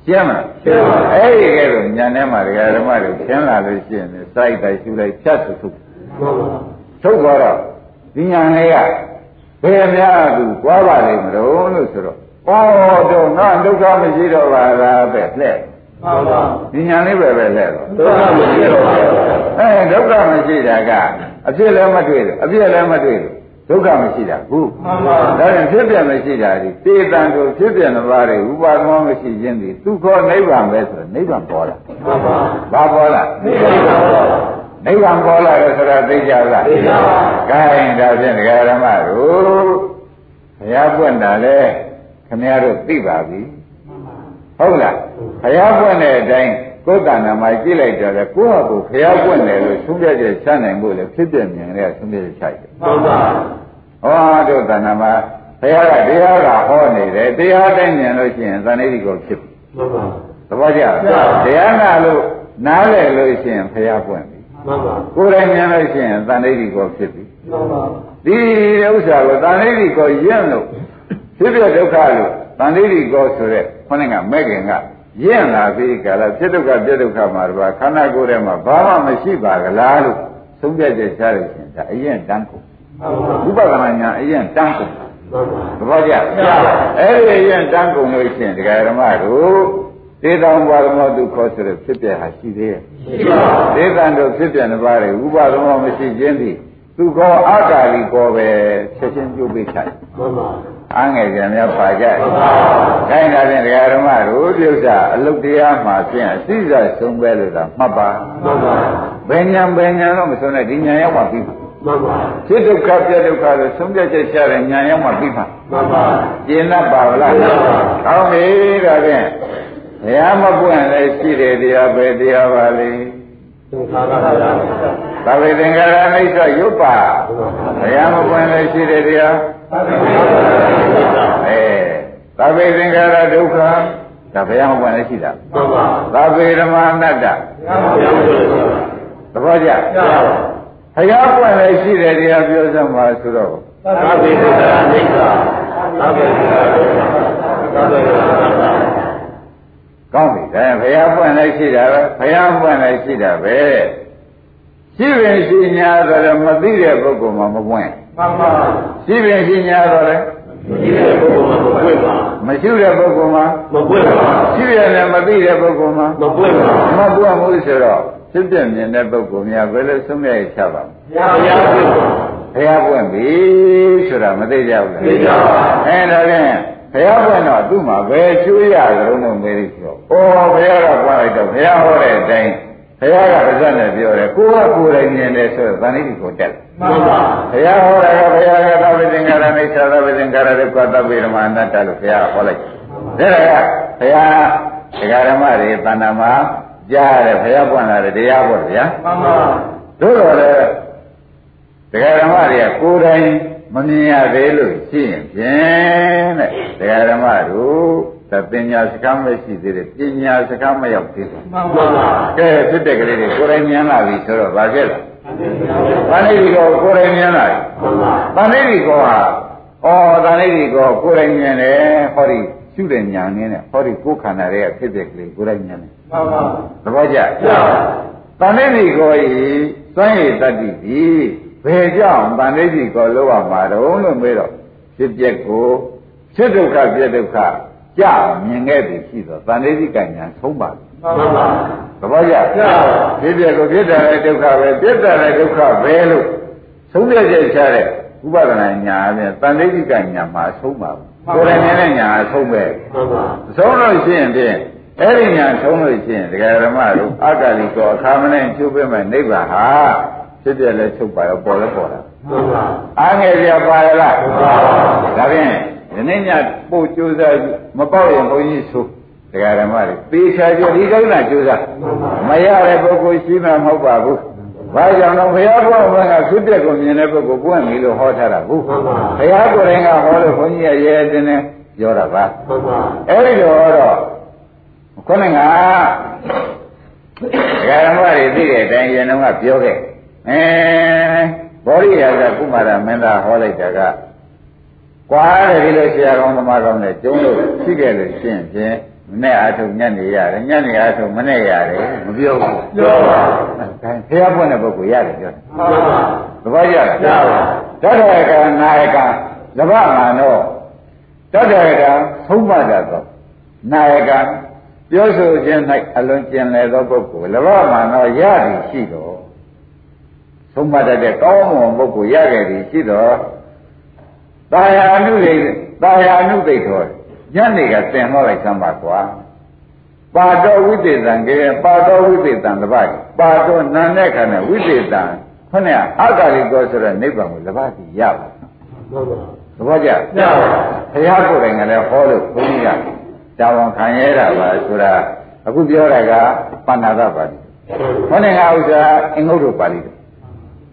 S2: ရှင်းမလား
S3: ရှင်းပါပါ
S2: အဲ့ဒီကဲတော့ညာထဲမှာဒကာဓမ္မတွေရှင်းလာလို့ရှင်းတယ်စိုက်တိုက်ရှူလိုက်ဖြတ်ဆုပ်ထုတ်
S3: မှန်ပါ
S2: ထုတ်သွားတော့ဒီညာလေးကဘယ်များသူကြွားပါလိမ့်မလို့လို့ဆိုတော့ဩတော့ငါဒုက္ခမရှိတော့ပါလားပဲလှဲ့
S3: မှန်ပါ
S2: ဒီညာလေးပဲပဲလဲတော့
S3: ဒုက္ခမရှိတော့ပါဘူး
S2: အဲဒုက္ခမရှိတာကအဖြစ်လည်းမတွေ့ဘူးအပြည့်လည်းမတွေ့ဘူးဒုက္ခမရှိတာဘူး
S3: မှန်ပါ
S2: ဒါရင်ဖြစ်ပြန်မရှိတာဒီသေတံတို့ဖြစ်ပြန်တပါးတွေဥပါဒမမရှိခြင်းဒီသူခေါ်နိဗ္ဗာန်ပဲဆိုတော့နိဗ္ဗာန်ပေါ်လာ
S3: မှန်
S2: ဘာ
S3: ပါ
S2: ပေါ်လာ
S3: နိဗ္ဗာန်ပါပါ
S2: နိဗ္ဗာန်ပေါ်လာတယ်ဆိုတာသိကြလား
S3: သိကြပါ
S2: ကဲဒါဖြင့်ဒကာရမတို့ဘုရားပွင့်တာလဲခင်ဗျားတို့သိပါပြီ
S3: မှန်ပါ
S2: ဟုတ်လားဘုရားပွင့်တဲ့အတိုင်းကိုယ်တဏ္ဍာမှာကြည့်လိုက်တော့လေကိုယ့်ဟာကိုယ်ဘုရားပွင့်တယ်လို့သုံးပြချက်ချနိုင်ဖို့လေဖြစ်ပြမြင်တဲ့သုံးပြချက်ချတယ်
S3: မှန်ပါ
S2: ။ဟောတို့တဏ္ဍာမှာဘုရားကတရားကဟောနေတယ်တရားတိုင်းမြင်လို့ရှိရင်သန္တိတိကိုဖြစ်ပြီ
S3: မှန်ပါ
S2: ။သဘောကျလား။တရားနာလို့နားလည်လို့ရှိရင်ဘုရားပွင့်ပြီ
S3: မှန်ပါ
S2: ။ကိုယ်တိုင်မြင်လို့ရှိရင်သန္တိတိကိုဖြစ်ပြီ
S3: မှန်ပါ
S2: ။ဒီဥစ္စာကိုသန္တိတိကိုရင့်လို့ဖြစ်ပြဒုက္ခလို့သန္တိတိကိုဆိုတဲ့ခொနည်းကမဲ့ခင်က ရင့်လာပြီကလားဖြစ်ဒုက္ခပြဒုက္ခမှာတော့ခန္ဓာကိုယ်ထဲမှာဘာမှမရှိပါကလားလို့သုံးပြချက်ရှားလို့ရှင်ဒါအရင်တန်းကို
S3: မှန်ပါ
S2: ဝိပဿနာညာအရင်တန်းကို
S3: မှန်ပါ
S2: သဘောကျလားအဲ့ဒီအရင်တန်းကုန်လို့ရှင်ဒကာရမတို့သေတံဘာရမောတုခေါ်ဆိုတဲ့ဖြစ်ပြဟာရှိသေးရဲ့
S3: ရှိပါ
S2: သေတံတို့ဖြစ်ပြနှစ်ပါးတွေဥပါဒမောမရှိခြင်းသည်သူကောအာကာလီပေါ်ပဲချက်ချင်းပြုတ်ပေးချင်
S3: မှန်ပါ
S2: အငယ်ကြံများပါကြတယ်
S3: မှန်ပါ
S2: ခိုင်းတာဖြင့်ဒကာဓမ္မတို့ပြုစ္စာအလုတ်တရားမှာဖြင့်အစိစဆုံးပဲလို့သာမှတ်ပါ
S3: မှန်ပါ
S2: ဘယ်ညာဘယ်ညာတော့မဆုံးနဲ့ဒီညာရောက်မှပြီးပါ
S3: မှန်ပါ
S2: ဖြစ်ဒုက္ခပြဒုက္ခလို့ဆုံးဖြတ်ချက်ချတဲ့ညာရောက်မှပြီးပါ
S3: မှန်ပါ
S2: ကျင့်တတ်ပါလား
S3: ကျင့်တတ်ပါ
S2: ကောင်းပြီဒါဖြင့်ဘုရားမပွင့်လည်းရှိတယ်တရားပဲတရားပါလေ
S3: သင်္ခါရတရားမှန်
S2: သဗ္ဗေသင်္ခါရအိစ္ဆရုပ်ပါ
S3: ပါ
S2: ဘုရားမပွင့်လည်းရှိတယ်တရား
S3: သာသနာ့တရား
S2: အဲသဗ္ဗေသင်္ခါရဒုက္ခဒါဘုရားမပွင့်လည်းရှိတာ
S3: မှန်ပါ
S2: သဗ္ဗေဓမ္မအနတ္တ
S3: ဘုရားကို
S2: သဘောကျဘု
S3: ယ်တော်ကျပါပါ
S2: ရားပွင့်လည်းရှိတယ်တရားပြောစမ်းပါဆိုတော့
S3: သာဝေဒနာအိစ္ဆာသာဝေဒနာဒုက္ခသာဝေဒနာသာ
S2: ကောင်းပြီဒါရင်ဘုရားပွင့်လည်းရှိတာပဲဘုရားပွင့်လည်းရှိတာပဲရှိပင်ရှိညာဆိုတော့မသိတဲ့ပုဂ္ဂိုလ်မှမပွင့်
S3: မှန်ပါ
S2: ရှိပင်ရှိညာဆိုတော့
S3: ဒီလိုပုဂ္ဂိုလ်မှာမ
S2: မ
S3: ပွင့်ပါ
S2: ရှိတဲ့ပုဂ္ဂိုလ်မှ
S3: မပွင့်ပါ
S2: ရှိရတယ်မသိတဲ့ပုဂ္ဂိုလ်မှ
S3: မပွင့်ပါ
S2: မပွင့်ဘူးဆိုတော့ဖြစ်ပြမြင်တဲ့ပုဂ္ဂိုလ်များဘယ်လိုဆုံးဖြတ်ရချပါ့မလဲ
S3: ရာရာပွင့်ပါ
S2: ဘုရားပွင့်ပြီဆိုတာမသိကြဘူးလား
S3: သိကြပါ
S2: အဲဒါဖြင့်ဘုရားပွင့်တော့သူ့မှာပဲချွေးရကြုံလို့မေးလို့ပြော။အော်ဘုရားကပွင့်လိုက်တော့ဘုရားဟောတဲ့အတိုင်းဘုရားကပါဇက်နဲ့ပြောတယ်ကိုယ်ကကိုယ်တိုင်မြင်တယ်ဆိုတော့သန္တိတိကိုတက်တယ်
S3: မှန်ပါ
S2: ။ဘုရားဟောတာကဘုရားကသဗ္ဗေသင်္ခါရမိစ္ဆာသဗ္ဗေသင်္ခါရဒုက္ခသဗ္ဗေဓမ္မာအနတ္တလို့ဘုရားကဟောလိုက်တယ်။ဒါကဘုရားဒကာဓမ္မတွေတဏ္ဍာမှာကြားရတယ်ဘုရားပွင့်လာတယ်တရားပေါ့ဗျာ။
S3: မှန်ပါ
S2: သို့တော်လည်းတရားဓမ္မတွေကကိုယ်တိုင်မမြင်ရသေးလို့ရှိရင်ဖြင့်တဲ့တရားဓမ္မတို့သပညာစကားမရှိသေးတဲ့ပညာစကားမရောက်သေးဘူး
S3: မှန်ပါ
S2: ကဲဖြစ်တဲ့ကလေးတွေကိုယ်တိုင်မြင်လာပြီဆိုတော့ဗာခဲ့လား
S3: မ
S2: ဗာနေဒီကောကိုယ်တိုင်မြင်လာပြီ
S3: ှန်ပါ
S2: ဗာနေဒီကောဟာအော်ဗာနေဒီကောကိုယ်တိုင်မြင်တယ်ဟောဒီရှုတဲ့ညာနည်းနဲ့ဟောဒီကိုယ်ခန္ဓာတွေကဖြစ်တဲ့ကလေးကိုယ်တိုင်မြင်တယ်
S3: မှန်ပါ
S2: သဘောကျ
S3: ကျပါ
S2: ်တန်ဋိတိကိုဤစွန့်ရည်တတ္တိဒီဘယ်ကြောင့်တန်ဋိတိကိုလောရမှာတော့လို့မေးတော့ဖြစ်ပျက်ကိုဖြစ်ဒုက္ခပြက်ဒုက္ခကြာမြင်ခဲ့ပြီရှိတော့တန်ဋိတိကညာဆုံးပါပြီ
S3: မှန်ပါ
S2: သဘောကျ
S3: ကျပါ
S2: ဖြစ်ပျက်ကိုဖြစ်တာလည်းဒုက္ခပဲပြက်တာလည်းဒုက္ခပဲလို့ဆုံးဖြတ်ချက်ချတဲ့ဥပဒနာညာအပြင်တန်ဋိတိကညာမှာဆုံးပါဘူးကိုယ်တိုင်မြင်တဲ့ညာအဆုံးပဲ
S3: မှန်ပါ
S2: ဆုံးလို့ရှိရင်ဖြင့်အဲ့ဒီညာဆုံးလို့ရှိရင်တရားဓမ္မတို့အက္ကလိကောအခါမနဲ့ချုပ်ပေးမဲ့နိဗ္ဗာန်ဟာဖြစ်ပြလဲချုပ်ပါရောပေါ်လဲပေါ်တာ
S3: မှန်ပါ
S2: အားငယ်ပြပါရလားဒါဖြင့်ဒီနေ့ညပို့ကြိုးစားမပေါက်ရင်ဘုန်းကြီးဆိုတရားဓမ္မတွေသေချာကြဒီကိစ္စကြိုးစားမရတဲ့ပုဂ္ဂိုလ်ရှိမှမဟုတ်ပါဘူးဘာကြောင့်လဲဘုရားဘောကဖြစ်ပြကိုမြင်တဲ့ပုဂ္ဂိုလ်ပွင့်ပြီလို့ဟောထားတာဘူး
S3: မှန်ပါ
S2: ဘုရားကိုယ်တိုင်ကဟောလို့ဘုန်းကြီးရဲ့ရဲရဲတင်းတင်းပြောတာပါ
S3: မှန်ပါ
S2: အဲ့ဒီတော့တော့ခုနကဒကာရမတွေသိတဲ့အတိုင်းရင်တော့ကပြောခဲ့အဲဘောရိယာကကုမာရမင်းသားဟောလိုက်တာကကွာတယ်ဒီလိုဆရာကောင်းသမားကောင်းနဲ့ကျုံးလို့ရှိခဲ့လို့ရှင်းဖြင့်မနဲ့အာထုံညက်နေရတယ်ညက်နေအာထုံမနဲ့ရတယ်မပြောဘူး
S3: ကျပါ
S2: အဲဆရာပွင့်တဲ့ပုဂ္ဂိုလ်ရတယ်ပြောတယ်
S3: မှန်ပါ
S2: သဘောကျလား
S3: ကျပါ
S2: တတ္တရကနာယကသဗ္ဗမာနောတတ္တရကသုံးပါတတ်သောနာယက ပြောဆိုခြင်း၌အလွန်ကျင်လည်သောပုဂ္ဂိုလ်လဘမှန်သောရသည်ရှိတော်သုံးပါတတ်တဲ့ကောင်းမွန်ပုဂ္ဂိုလ်ရခဲ့သည်ရှိတော်တာယာအနုဒိတာယာအနုဒိတ်တော်ညနေကသင်ဟောလိုက်သမ်းပါကွာပါတော်ဝိသေသံကေပါတော်ဝိသေသံတပတ်ပါတော်နန္တဲ့ခါနဲ့ဝိသေသံခုနကအဂ္ဂရိကောဆိုတဲ့နိဗ္ဗာန်ကိုလဘစီရပါ
S3: ဟုတ်ပါ
S2: သဘောကျ
S3: ညပါ
S2: ဘုရားကိုယ်တိုင်ကလည်းဟောလို့ဘုန်းကြီးကတာဝန်ခံရတာပါဆိုတာအခုပြောတာကပဏာတပါဠိ
S3: ဟုတ်ပါ
S2: ခုနကဥစ္စာအင်္ဂုတ္တပါဠိတော်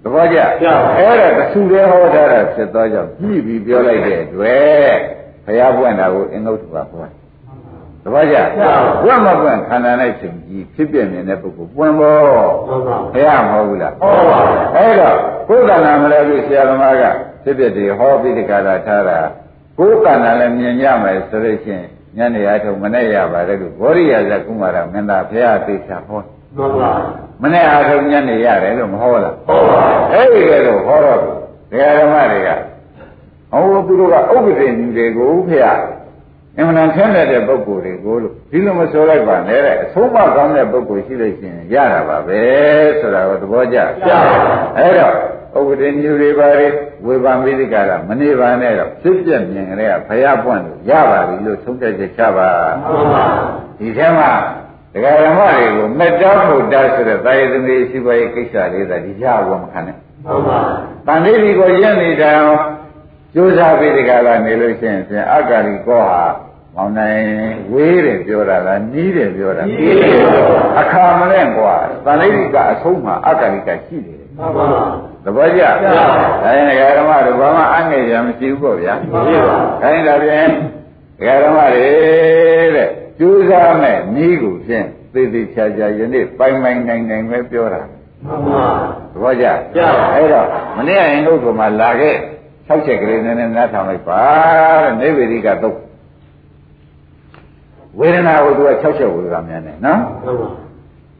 S2: သဘောကျ
S3: ကျပါ
S2: အဲ့ဒါတစ်ခုတည်းဟောထားတာဖြစ်သောကြောင့်ပြီးပြီးပြောလိုက်တဲ့အတွက်ဘုရားပွင့်တာကိုအင်္ဂုတ္တပါပွင့်သဘောကျပွင့်မပွင့်ခန္ဓာနဲ့ရှင်ကြီးဖြစ်ပြနေတဲ့ပုဂ္ဂိုလ်ပွင့်ဖို့
S3: ဟုတ်ပါ
S2: ဘုရားမဟုတ်ဘူးလား
S3: ဟုတ်ပါ
S2: အဲ့တော့ကိုယ်ကနာမလည်းပြီဆရာသမားကဖြစ်ဖြစ်ဒီဟောပြီးဒီကရာထားတာကိုယ်ကနာလည်းမြင်ရမယ်ဆိုလို့ရှိရင်ညနေအထုံမနဲ့ရပါတယ်လို့ဘောရိယဇကုမာရမင်းသားဘုရားသေချာဟော
S3: ဟုတ်ပါ
S2: မနဲ့အထုံညနေရတယ်လို့မဟောလား
S3: ဟုတ်ပါ
S2: အဲ့ဒီကဲလို့ဟောတော့ဒကာဓမ္မတွေကဟောသူတို့ကဥပ္ပဒေညီတွေကိုဘုရားအင်မတန်ဆင်းရဲတဲ့ပုဂ္ဂိုလ်တွေကိုလို့ဒီလိုမဆိုလိုက်ပါနဲ့တဲ့အဆုံးမကောင်းတဲ့ပုဂ္ဂိုလ်ရှိလို့ရှိရင်ရတာပါပဲဆိုတာကိုသဘောကျလား
S3: ကျပါ
S2: အဲ့တော့ဥပဒေမျိုးတွေပါလေဝေဘာမိသိကာရမနေပါနဲ့တော့ဖြစ်ပြမြင်ကြတဲ့ဘုရားပွင့်လို့ရပါပြီလို့ဆုံးဖြတ်ချက်ချပါ
S3: ဟုတ်ပါ
S2: ဒီထဲမှာဒကာရမတွေကိုမေတ္တာဘုဒ္ဓဆိုတဲ့သာယသမီးရှိပါရဲ့ကိစ္စလေးသာဒီရဝမခံနဲ့
S3: ဟုတ်ပါ
S2: တန်လေးဒီကိုရင့်နေတာအောင်ကြိုးစားပြီးဒီကလာနေလို့ရှိရင်ဖြင့်အဂါရီကောဟာမောင်နိုင်ဝေးတယ်ပြောတာလားနီးတယ်ပြောတာလား
S3: ဒီလို
S2: အခါမလဲကွာတန်လေးဒီကအဆုံးမှာအဂါရီကရှိနေတယ်
S3: ဟုတ်ပါ
S2: သဘောကျ
S3: ကျပါပါ
S2: ဒါရင်ဒကာဓမ္မတို့ဘာမှအငဲ့ရမရှိဘူးပေါ့ဗျာ
S3: ဟုတ်ပ
S2: ဒါ
S3: ါ
S2: ရင်ဒါဖြင့်ဒကာဓမ္မတွေတဲ့ကျူးစားမဲ့ဤကိုဖြင့်သေသေးချာချာယနေ့ပိုင်ပိုင်နိုင်နိုင်ပဲပြောတာ
S3: ဟုတ်ပါ
S2: သဘောကျ
S3: ကျပါ
S2: အဲ့တော့မနေ့ကရင်ဟုတ်ကမှလာခဲ့၆ချက်ကလေးနည်းနည်းနားထောင်လိုက်ပါတဲ့နေဗေဒိကတော့ဝေဒနာကိုသူက၆ချက်ဝေဒနာများနေနော်
S3: ဟုတ်ပါ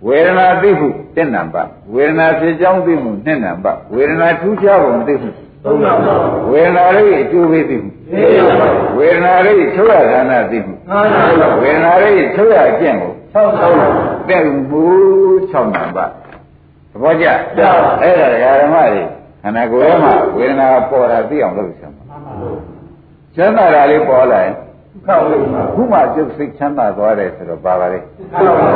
S2: ဝေဒနာသိဟုတင့်နံပါတ်ဝေဒနာဖြစ်ကြောင်းသိမှုနှစ်နံပါတ်ဝေဒနာထူးခြားပုံသိမှု
S3: သုံးပါပါ
S2: ဝေဒနာရိအကျိုးပေးသိမှု
S3: ဒီလိုပါ
S2: ဝေဒနာရိထုတ်ရဌာနသိမှု
S3: နားနားပါ
S2: ဝေဒနာရိထုတ်ရအကျင့်ကို
S3: ဆောက်ဆောက်ပါ
S2: တဲ့မှု6နံပါတ်သဘောကျ
S3: ကျပါ
S2: အဲ့ဒါဒကာဓမ္မတွေခန္ဓာကိုယ်ထဲမှာဝေဒနာပေါ်တာသိအောင်လုပ်ရမှာချမ်းသာတာလေးပေါ်လာရင်
S3: ခောက်လို့ပါ
S2: ခုမှကျုပ်စိတ်ချမ်းသာသွားတယ်ဆိုတော့ပါပါလေ
S3: ခောက်ပါ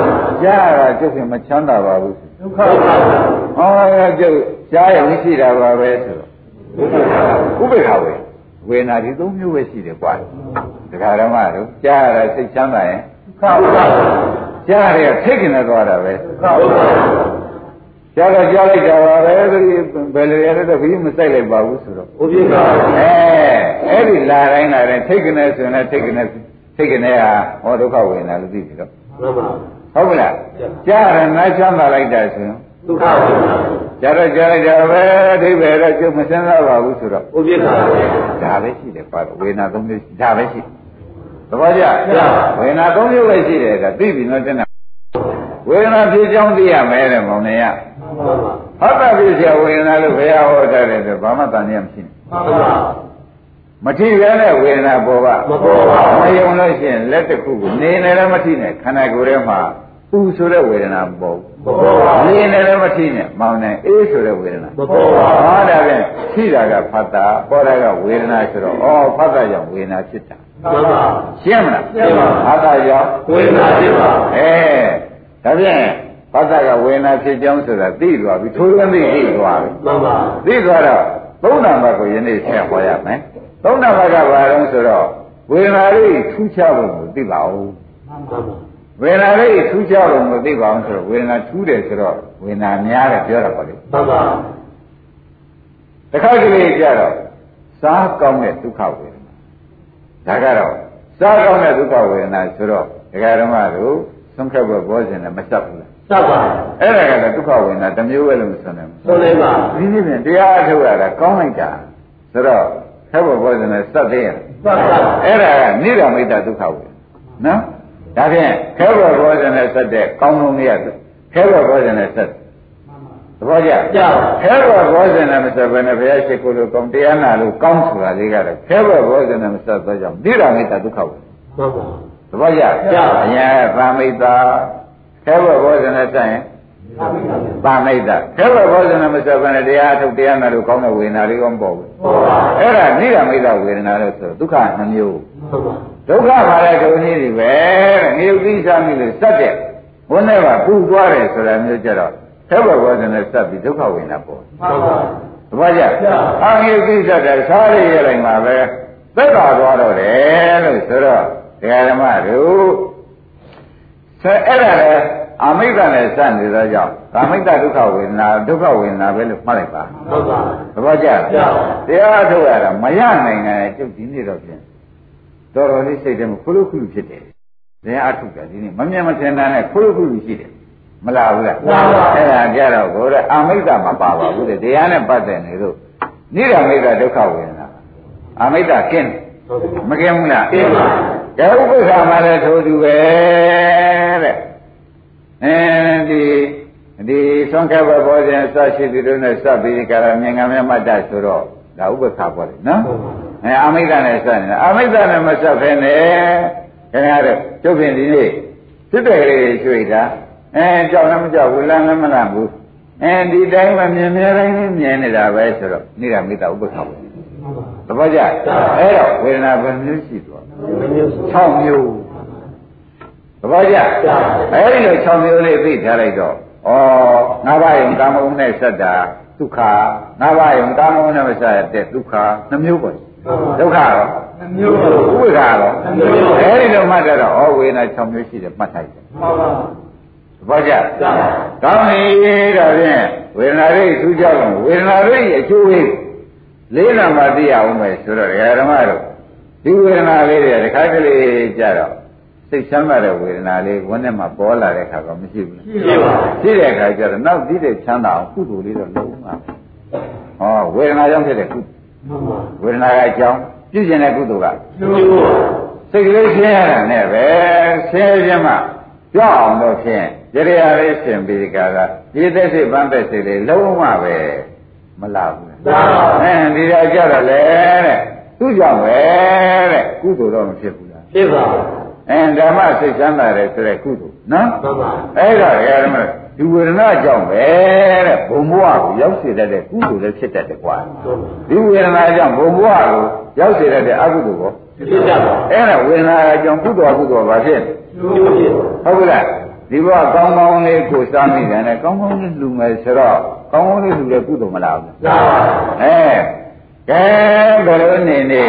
S2: ကြားရတာကျုပ်ကမချမ်းသာပါဘူး
S3: ဒုက္ခပါ
S2: ဟောကျုပ်ကြားရမရှိတာပါပဲဆိုတော့
S3: ဒုက္ခပါ
S2: ဥပေက္ခဝေဝေနာဒီသုံးမျိုးပဲရှိတယ်ကွာဒကာဓမ္မတို့ကြားရတာစိတ်ချမ်းသာရင်
S3: ခောက်ပါ
S2: ကြားရတဲ့ထိတ်ခင်နဲ့သွားတာပဲ
S3: ခောက်ပါ
S2: ကြားတော့ကြားလိုက်တာပါပဲဒီဘယ်လိုရတဲ့တော့ဘီမစိုက်လိုက်ပါဘူးဆိုတော့
S3: ဥပိ္ပာ
S2: အဲအဲ့ဒီလာတိုင်းလာတိုင်းထိတ်ခင်နဲ့ဆိုရင်လည်းထိတ်ခင်နဲ့ထိတ်ခင်နဲ့ဟာဟောဒုက္ခဝေနာလို့သိပြီတော့
S3: ဟုတ်ပါ
S2: ဟုတ်မလားကြားရတဲ့နားချမ်းသာလိုက်တာဆိုရင်
S3: ဒုက္ခပါ
S2: ကြားတော့ကြားလိုက်တာပဲအဓိပ္ပာယ်တော့ကျုပ်မစမ်းသာပါဘူးဆိုတော့
S3: ဥပိ္ပာ
S2: ဒါပဲရှိတယ်ပါတော့ဝေနာသုံးမျိုးရှိဒါပဲရှိတယ်သဘောကျ
S3: ကျပါ
S2: ဝေနာသုံးမျိုးပဲရှိတယ်ဒါသိပြီနော်တင်တာဝေနာဖြစ်ကြောင်းသိရမယ်တဲ့မောင်နေရ
S3: ဟုတ်ပါ
S2: ဟုတ်တာဖြစ်เสียဝေနာလို့ဘုရားဟောတာတယ်ဆိုဘာမှတန်ရမရှိဘူး
S3: ဟုတ်ပါ
S2: မထိရတဲ့ဝေနာပေါ်ပါ
S3: မပေါ်ပါဘူး
S2: မယုံလို့ရှိရင်လက်တစ်ခုကိုနေနေလည်းမထိနဲ့ခန္ဓာကိုယ်ထဲမှာပူဆိုတဲ့ဝေဒနာမပေါ်ဘူး
S3: မပေါ်ပါ
S2: နေနေလည်းမထိနဲ့မောင်နေအေးဆိုတဲ့ဝေဒနာ
S3: မပေါ်ပါ
S2: ဟောဒါပြန်ရှိတာကဖတ်တာပေါ်တာကဝေဒနာဆိုတော့ဩဖတ်တာကြောင့်ဝေဒနာဖြစ်တာ
S3: ဟုတ်ပါ
S2: ရှင်းမလား
S3: ရှင်းပါ
S2: ဖတ်တာကြောင့်
S3: ဝေဒနာဖြစ်ပါ
S2: အဲဒါပြန်ဖတ်တာကဝေဒနာဖြစ်ကြောင်းဆိုတာသိသွားပြီထိုးသွင်းသိသိသွားပြီ
S3: မပါ
S2: သိသွားတော့သုံးနံပါတ်ကိုယနေ့ဆက်ဟောရမယ်သုံးနံပါတ်ကဘာလဲဆိုတော့ဝေဒနာလေးထူးခြားပုံကိုသိပါဦး
S3: မပါ
S2: ဝေဒနာလေးထူးခြားပုံကိုသိပါအောင်ဆိုတော့ဝေဒနာထူးတယ်ဆိုတော့ဝေဒနာများတယ်ပြောတာပါလေ
S3: မပါ
S2: တခါကလေးကြတော့စားကောင်းတဲ့ဒုက္ခဝေဒနာဒါကတော့စားကောင်းတဲ့ဒုက္ခဝေဒနာဆိုတော့ဒကာဓမ္မတို့သုံးခက်ဘဘောဇင်နဲ့မဆက်ဘူးလား
S3: စပ်ပါ
S2: အဲ့ဒါကတော့ဒုက္ခဝေဒနာတစ်မျိုးပဲလို့မဆိုနိုင်ဘူး
S3: သုံးလေးပါ
S2: ဒီနေ့ပြန်တရားအထုတ်ရတာကောင်းလိုက်တာဆိုတော့ခက်ဘဘောဇင်နဲ့ဆက်သေးရ
S3: စပ်ပါ
S2: အဲ့ဒါကနိရမိတ္တဒုက္ခဝေဒနာနော်ဒါဖြင့်ခက်ဘဘောဇင်နဲ့ဆက်တဲ့ကောင်းလုံးလေးရခက်ဘဘောဇင်နဲ့ဆက်သဘောကျ
S3: ကြောက်
S2: ခဲဘောဘောဇင်နဲ့မဆက်ဘဲနဲ့ဘုရားရှိခိုးလို့ကောင်းတရားနာလို့ကောင်းဆိုတာလေးကတော့ခဲဘောဘောဇင်နဲ့မဆက်သောကြောင့်ဒိရမိတ္တဒုက္ခဝေ
S3: မပါ
S2: သဘောကျ
S3: ကျပါ
S2: အရင်ကသာမိတ်တာခဲဘဘောဇနဆိုင်ရင်
S3: သာမိတ်
S2: သာမိတ်
S3: တာ
S2: တာခဲဘဘောဇနမဆက်ဘဲနဲ့တရားအထုတ်တရားနာလို့ကောင်းတဲ့ဝေဒနာလေးကောမပေါ်ဘူး
S3: ဟုတ်ပါ
S2: အဲ့ဒါနိရမိတ်တာဝေဒနာလို့ဆိုဒုက္ခနှစ်မျိုး
S3: ဟုတ်ပါ
S2: ဒုက္ခပါတဲ့ဒုနည်းတွေပဲတဲ့ငြိုပ်သီးစားမိလို့စက်တဲ့ဘုန်းနဲ့ကပူသွားတယ်ဆိုတာမျိုးကြတော့သဘောဘောဇနဲ့စက်ပြီးဒုက္ခဝင်တာပေါ့
S3: ဟုတ်
S2: သ
S3: ပါ
S2: ဘောကျ
S3: ကျပါ
S2: အာငြိုပ်သီးစားတဲ့စားရရလိုက်မှာပဲသက်သာသွားတော့တယ်လို့ဆိုတော့တရားဓမ္မတို့ဆက်အဲ့ဒါလေအမိတ္တနဲ့စက်နေသောကြောင့်ကာမိတ္တဒုက္ခဝေဒနာဒုက္ခဝေဒနာပဲလို့မှတ်လိုက်ပါ
S3: ဟုတ်ပါ
S2: သဘောကျ
S3: ကျပါ
S2: တရားထုတ်ရတာမရနိုင်ငယ်ကျုပ်ဒီနေ့တော့ပြင် တော်တော်လေးစိတ်ထဲမှာခလုတ်ခလုတ်ဖြစ်တယ်။ဇင်အထုတ်တာဒီနေ့မမြင်မထင်တာနဲ့ခလုတ်ခလုတ်ရှိတယ်။မလားဘူးလား
S3: မှန်ပါဘူး
S2: အဲ့ဒါကြတော့ကိုယ်ကအမိတ္တမပါပါဘူးတဲ့တရားနဲ့ပတ်သက်နေလို့နိရမိတ္တဒုက္ခဝေဒနာအမိတ္တကင်း
S3: ဟုတ်ပါ
S2: မကင်းဘူးလား
S3: ကင်းပါ
S2: ဒါဥပ္ပခါမှာလည်းထိုသူပဲတဲ့အဲဒီဒီသွန်ခဘဘောဇင်စရှိသူတို့နဲ့စပ်ပြီးဒီကရမြင်ငံမြတ်မတ္တဆိုတော့ဒါဥပ္ပခါပေါ်တယ်နော် အဲအမိဒ္ဒနဲ့ဆက်နေတာအမိဒ္ဒနဲ့မဆက်ဖ ೇನೆ ခင်ဗျားတို့ကျုပ်ဖြင့်ဒီနေ့စစ်တဲ့ကလေးတွေတွေ့တာအဲကြောက်လည်းမကြောက်ဘူးလမ်းလည်းမလမ်းဘူးအဲဒီတိုင်းမှမြင်မြဲတိုင်းနဲ့မြင်နေတာပဲဆိုတော့နိရမိတ္တဥပ္ပခါပဲ
S3: ဟုတ်ပါ
S2: သဘောကျအဲ့တော့ဝေဒနာဘယ်မျိုးရှိသွား
S3: မမျိုးစု
S2: 6မျိုးသဘောကျ
S3: ကျပါ
S2: အဲ့ဒီလို6မျိုးလေးသိထားလိုက်တော့ဩငါးပါးယုံကာမဂုဏ်နဲ့ဆက်တာဒုက္ခငါးပါးယုံကာမဂုဏ်နဲ့မဆက်တဲ့ဒုက္ခ2မျိုးပေါ့
S3: ဟု
S2: ဒု
S3: တ်ပါ
S2: က္ခရော
S3: မျိုးစု
S2: ဥ
S3: ဟုတ်
S2: ပ္ပဒါတော့အဲဒီလိုမှတ်တတ်တော့ဩဝေနာ6မျိုးရှိတယ်မှတ်ထိုက်တယ်
S3: ပါ
S2: ။သဘောကျ
S3: ကျပါ
S2: ။ကောင်းပြီတော့ဖြင့်ဝေဒနာရိတ်ထူးခြားလို့ဝေဒနာရိတ်အကျိုးလေးလေးလံမှသိရအောင်ပဲဆိုတော့ဒကာဓမ္မတို့ဒီဝေဒနာလေးတွေတခါကလေးကြတော့စိတ်ဆမ်းရတဲ့ဝေဒနာလေးဝန်းထဲမှာပေါ်လာတဲ့ခါတော့မရှိဘူးလား
S3: ရှိပါ
S2: ။ရှိတဲ့ခါကျတော့နောက်ပြီးတဲ့ချမ်းသာအောင်ကုသိုလ်လေးတော့လုံးဝ။ဟောဝေဒနာကြောင့်ဖြစ်တဲ့ကုသိုလ်
S3: ဟုတ်
S2: ဝေဒ
S3: ပါ
S2: နာကအကြောင်းပြုကျင်တဲ့ကုသိုလ်က
S3: မျိုးစု
S2: စိတ်ကလေးဆင်းရတာနဲ့ပဲဆင်းရဲခြင်းမှကြောက်အောင်လို့ဖြင့်ကြရရလေးရှင်ပြီးဒီကကဒီသက်စိတ်ပန်းသက်စိတ်လေးလုံးဝပဲမလာဘူး
S3: ကျပါ
S2: ။အင်းဒီတော့ကြတော့လေတဲ့သူ့ကြောင့်ပဲတဲ့ကုသိုလ်တော့မဖြစ်ဘူးလား
S3: ဖြစ်ပါ
S2: ။အင်းဓမ္မစိတ်ချမ်းသာတယ်ဆိုတဲ့ကုသိုလ်နော်
S3: ဟုတ်ပါ
S2: ။အဲ့ဒါကဓမ္မဒီဝေဒနာကြောင့်ပဲတဲ့ဘုံဘဝကိုရောက်စေတတ်တဲ့ကုသိုလ်လည်းဖြစ်တတ်တယ်ကွာ
S3: ဟုတ်
S2: ။ဒီဝေဒနာကြောင့်ဘုံဘဝကိုရောက်စေတတ်တဲ့အကုသိုလ်ကို
S3: ဖြစ်ကြပါ
S2: အဲ့ဒါဝေဒနာအကြောင်းကုသိုလ်ကုသိုလ်ပါဖြစ်တယ်
S3: မျိုးဖြစ်
S2: ဟုတ်ကဲ့လားဒီဘဝကောင်းကောင်းလေးကိုစားမိတယ်နဲ့ကောင်းကောင်းလေးလူမယ်ဆိုတော့ကောင်းကောင်းလေးလူလည်းကုသိုလ်မလားဘူး
S3: ကျပါ
S2: အဲကဲဘယ်လိုနေနေ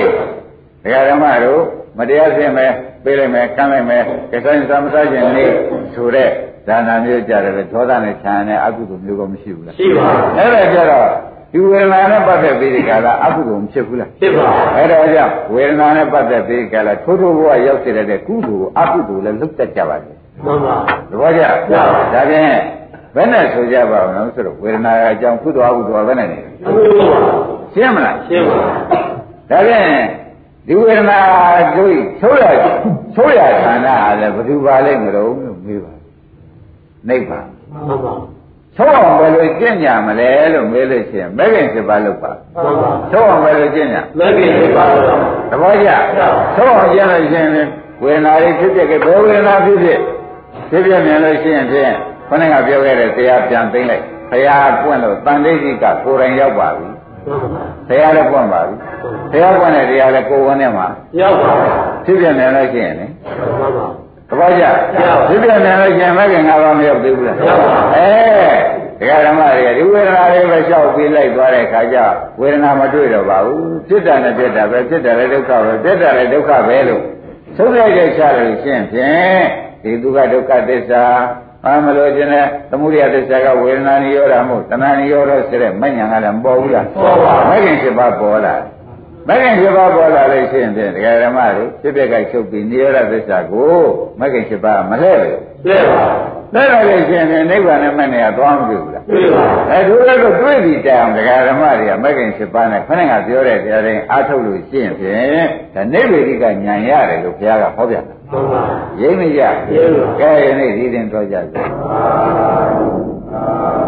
S2: ဒကာဓမ္မတို့မတရားဆင်းမယ်ပြေးလိုက်မယ်ကမ်းလိုက်မယ်ကစားရင်စားမစားခြင်းနေဆိုတဲ့ဒါနာမျိုးကြတယ်လေဒေါသနဲ့ခြံနဲ့အကုသိုလ်မျိုးကမရှိဘူးလား
S3: ရှိပါ
S2: အဲ့ဒါကြတော့ဒီဝေဒနာနဲ့ပတ်သက်ပြီးဒီကလာအကုသိုလ်မဖြစ်ဘူးလား
S3: ဖြစ်ပါ
S2: အဲ့ဒါကြောင့်ဝေဒနာနဲ့ပတ်သက်ပြီးကြလားထိုးထိုးဘဝရောက်စေတဲ့ကုသိုလ်အကုသိုလ်လည်းလွတ်တက်ကြပါလေ
S3: ဟုတ်ပါ
S2: ။သဘောကျ။ဒါဖြင့်ဘယ်နဲ့ဆိုကြပါမလို့ဆိုတော့ဝေဒနာအကြောင်းကုသိုလ်အကုသိုလ်ဘယ်နဲ့လဲ
S3: မျိုးစု
S2: ။ရှင်းမလား
S3: ရှင်းပါ
S2: ။ဒါဖြင့်ဒီဝေဒနာတို့ဆိုးရဆိုးရဌာနဟာလည်းဘယ်သူပါလိမ့်မလို့မေးပါ။နိဗ္ဗာန်
S3: ဟုတ်ပါ
S2: ဆိုးအောင်ဘယ်လိုကျင့်ကြမလဲလို့မေးလို့ရှိရင်မဲခင်စစ်ပါလို့ပါ
S3: ဟုတ်ပါ
S2: ။ဆိုးအောင်ဘယ်လိုကျင့်ကြ
S3: လက်ကိဖြစ်ပါတော့
S2: သဘောကျ
S3: ကျပါ
S2: ဆုံးအောင်ကျင့်လို့ရှိရင်လည်းဝေဒနာတွေဖြစ်ဖြစ်ကဲဘယ်ဝေဒနာဖြစ်ဖြစ်ဖြစ်ဖြစ်မြင်လို့ရှိရင်ဖြင့်ခဏကပြောခဲ့တဲ့တရားပြန်သိမ့်လိုက်ဘုရားပွင့်လို့တန်ဋိဋ္ဌိကကိုယ်တိုင်ရောက်ပါပြီ
S3: ဟုတ်ပါ
S2: ဘုရားလည်းပွင့်ပါပြီဘုရားပွင့်တဲ့တရားလည်းကိုယ်ဝင်ထဲမှာ
S3: ရောက်ပါ
S2: ဖြစ်ဖြစ်မြင်လို့ရှိရင်လေ
S3: ဟုတ်ပါ
S2: သဘောကျ
S3: ကျပါ
S2: ဖြစ်ဖြစ်မြင်လို့ရှိရင်မဂ်ကငါးပါးမရောက်သေးဘူးလား
S3: ရောက်ပါ
S2: အဲတရားဓမ္မတွေကဒီဝေဒနာတွေပဲလျှောက်ပြီးလိုက်သွားတဲ့ခါကျဝေဒနာမတွေ့တော့ပါဘူးဖြစ်တာနဲ့ပြက်တာပဲဖြစ်တာလည်းဒုက္ခပဲပြက်တာလည်းဒုက္ခပဲလို့သုံးလိုက်တဲ့ချလို့ရှင်းဖြင့်ဒီဒုက္ခဒုက္ခသစ္စာအာမလို့ခြင်းနဲ့သမုဒယသစ္စာကဝေဒနာနိရောဓမို့တဏှာနိရောဓဆိုတဲ့မဉ္ဇဏ်ကလည်းမပေါ်ဘူးလား
S3: ပေါ်ပါ
S2: မဂ်ကင်7ပါးပေါ်လာတယ် မဂ္ဂင်7ပါးပေါ်လာလို့ရှိရင်ဖြင့်ဒကာဓမ္မတို့ဖြစ်ပြက်ကချုပ်ပြီးနိရောဓသစ္စာကိုမဂ္ဂင်7ပါးမလှဲ့ဘူး
S3: လက်ပါ
S2: ။လှဲ့တော့လို့ရှိရင်ဖြင့်နိဗ္ဗာန်နဲ့မနဲ့ကသွားမတွေ့ဘူးလား
S3: တွေ့ပါ
S2: ။အဲဒုရကတွေ့ပြီတိုင်အောင်ဒကာဓမ္မတွေကမဂ္ဂင်7ပါးနဲ့ခဏကပြောတဲ့တရားတိုင်းအားထုတ်လို့ရှိရင်ဖြင့်ဒါနိဗ္ဗေဒိကဉာဏ်ရတယ်လို့ဘုရားကဟောပြတာ
S3: ဟုတ်ပါ
S2: ။ရိပ်မကြ
S3: ရိပ်ပါ
S2: ။ကဲယနေ့ဒီတင်တော်ကြပြီ။
S3: အာ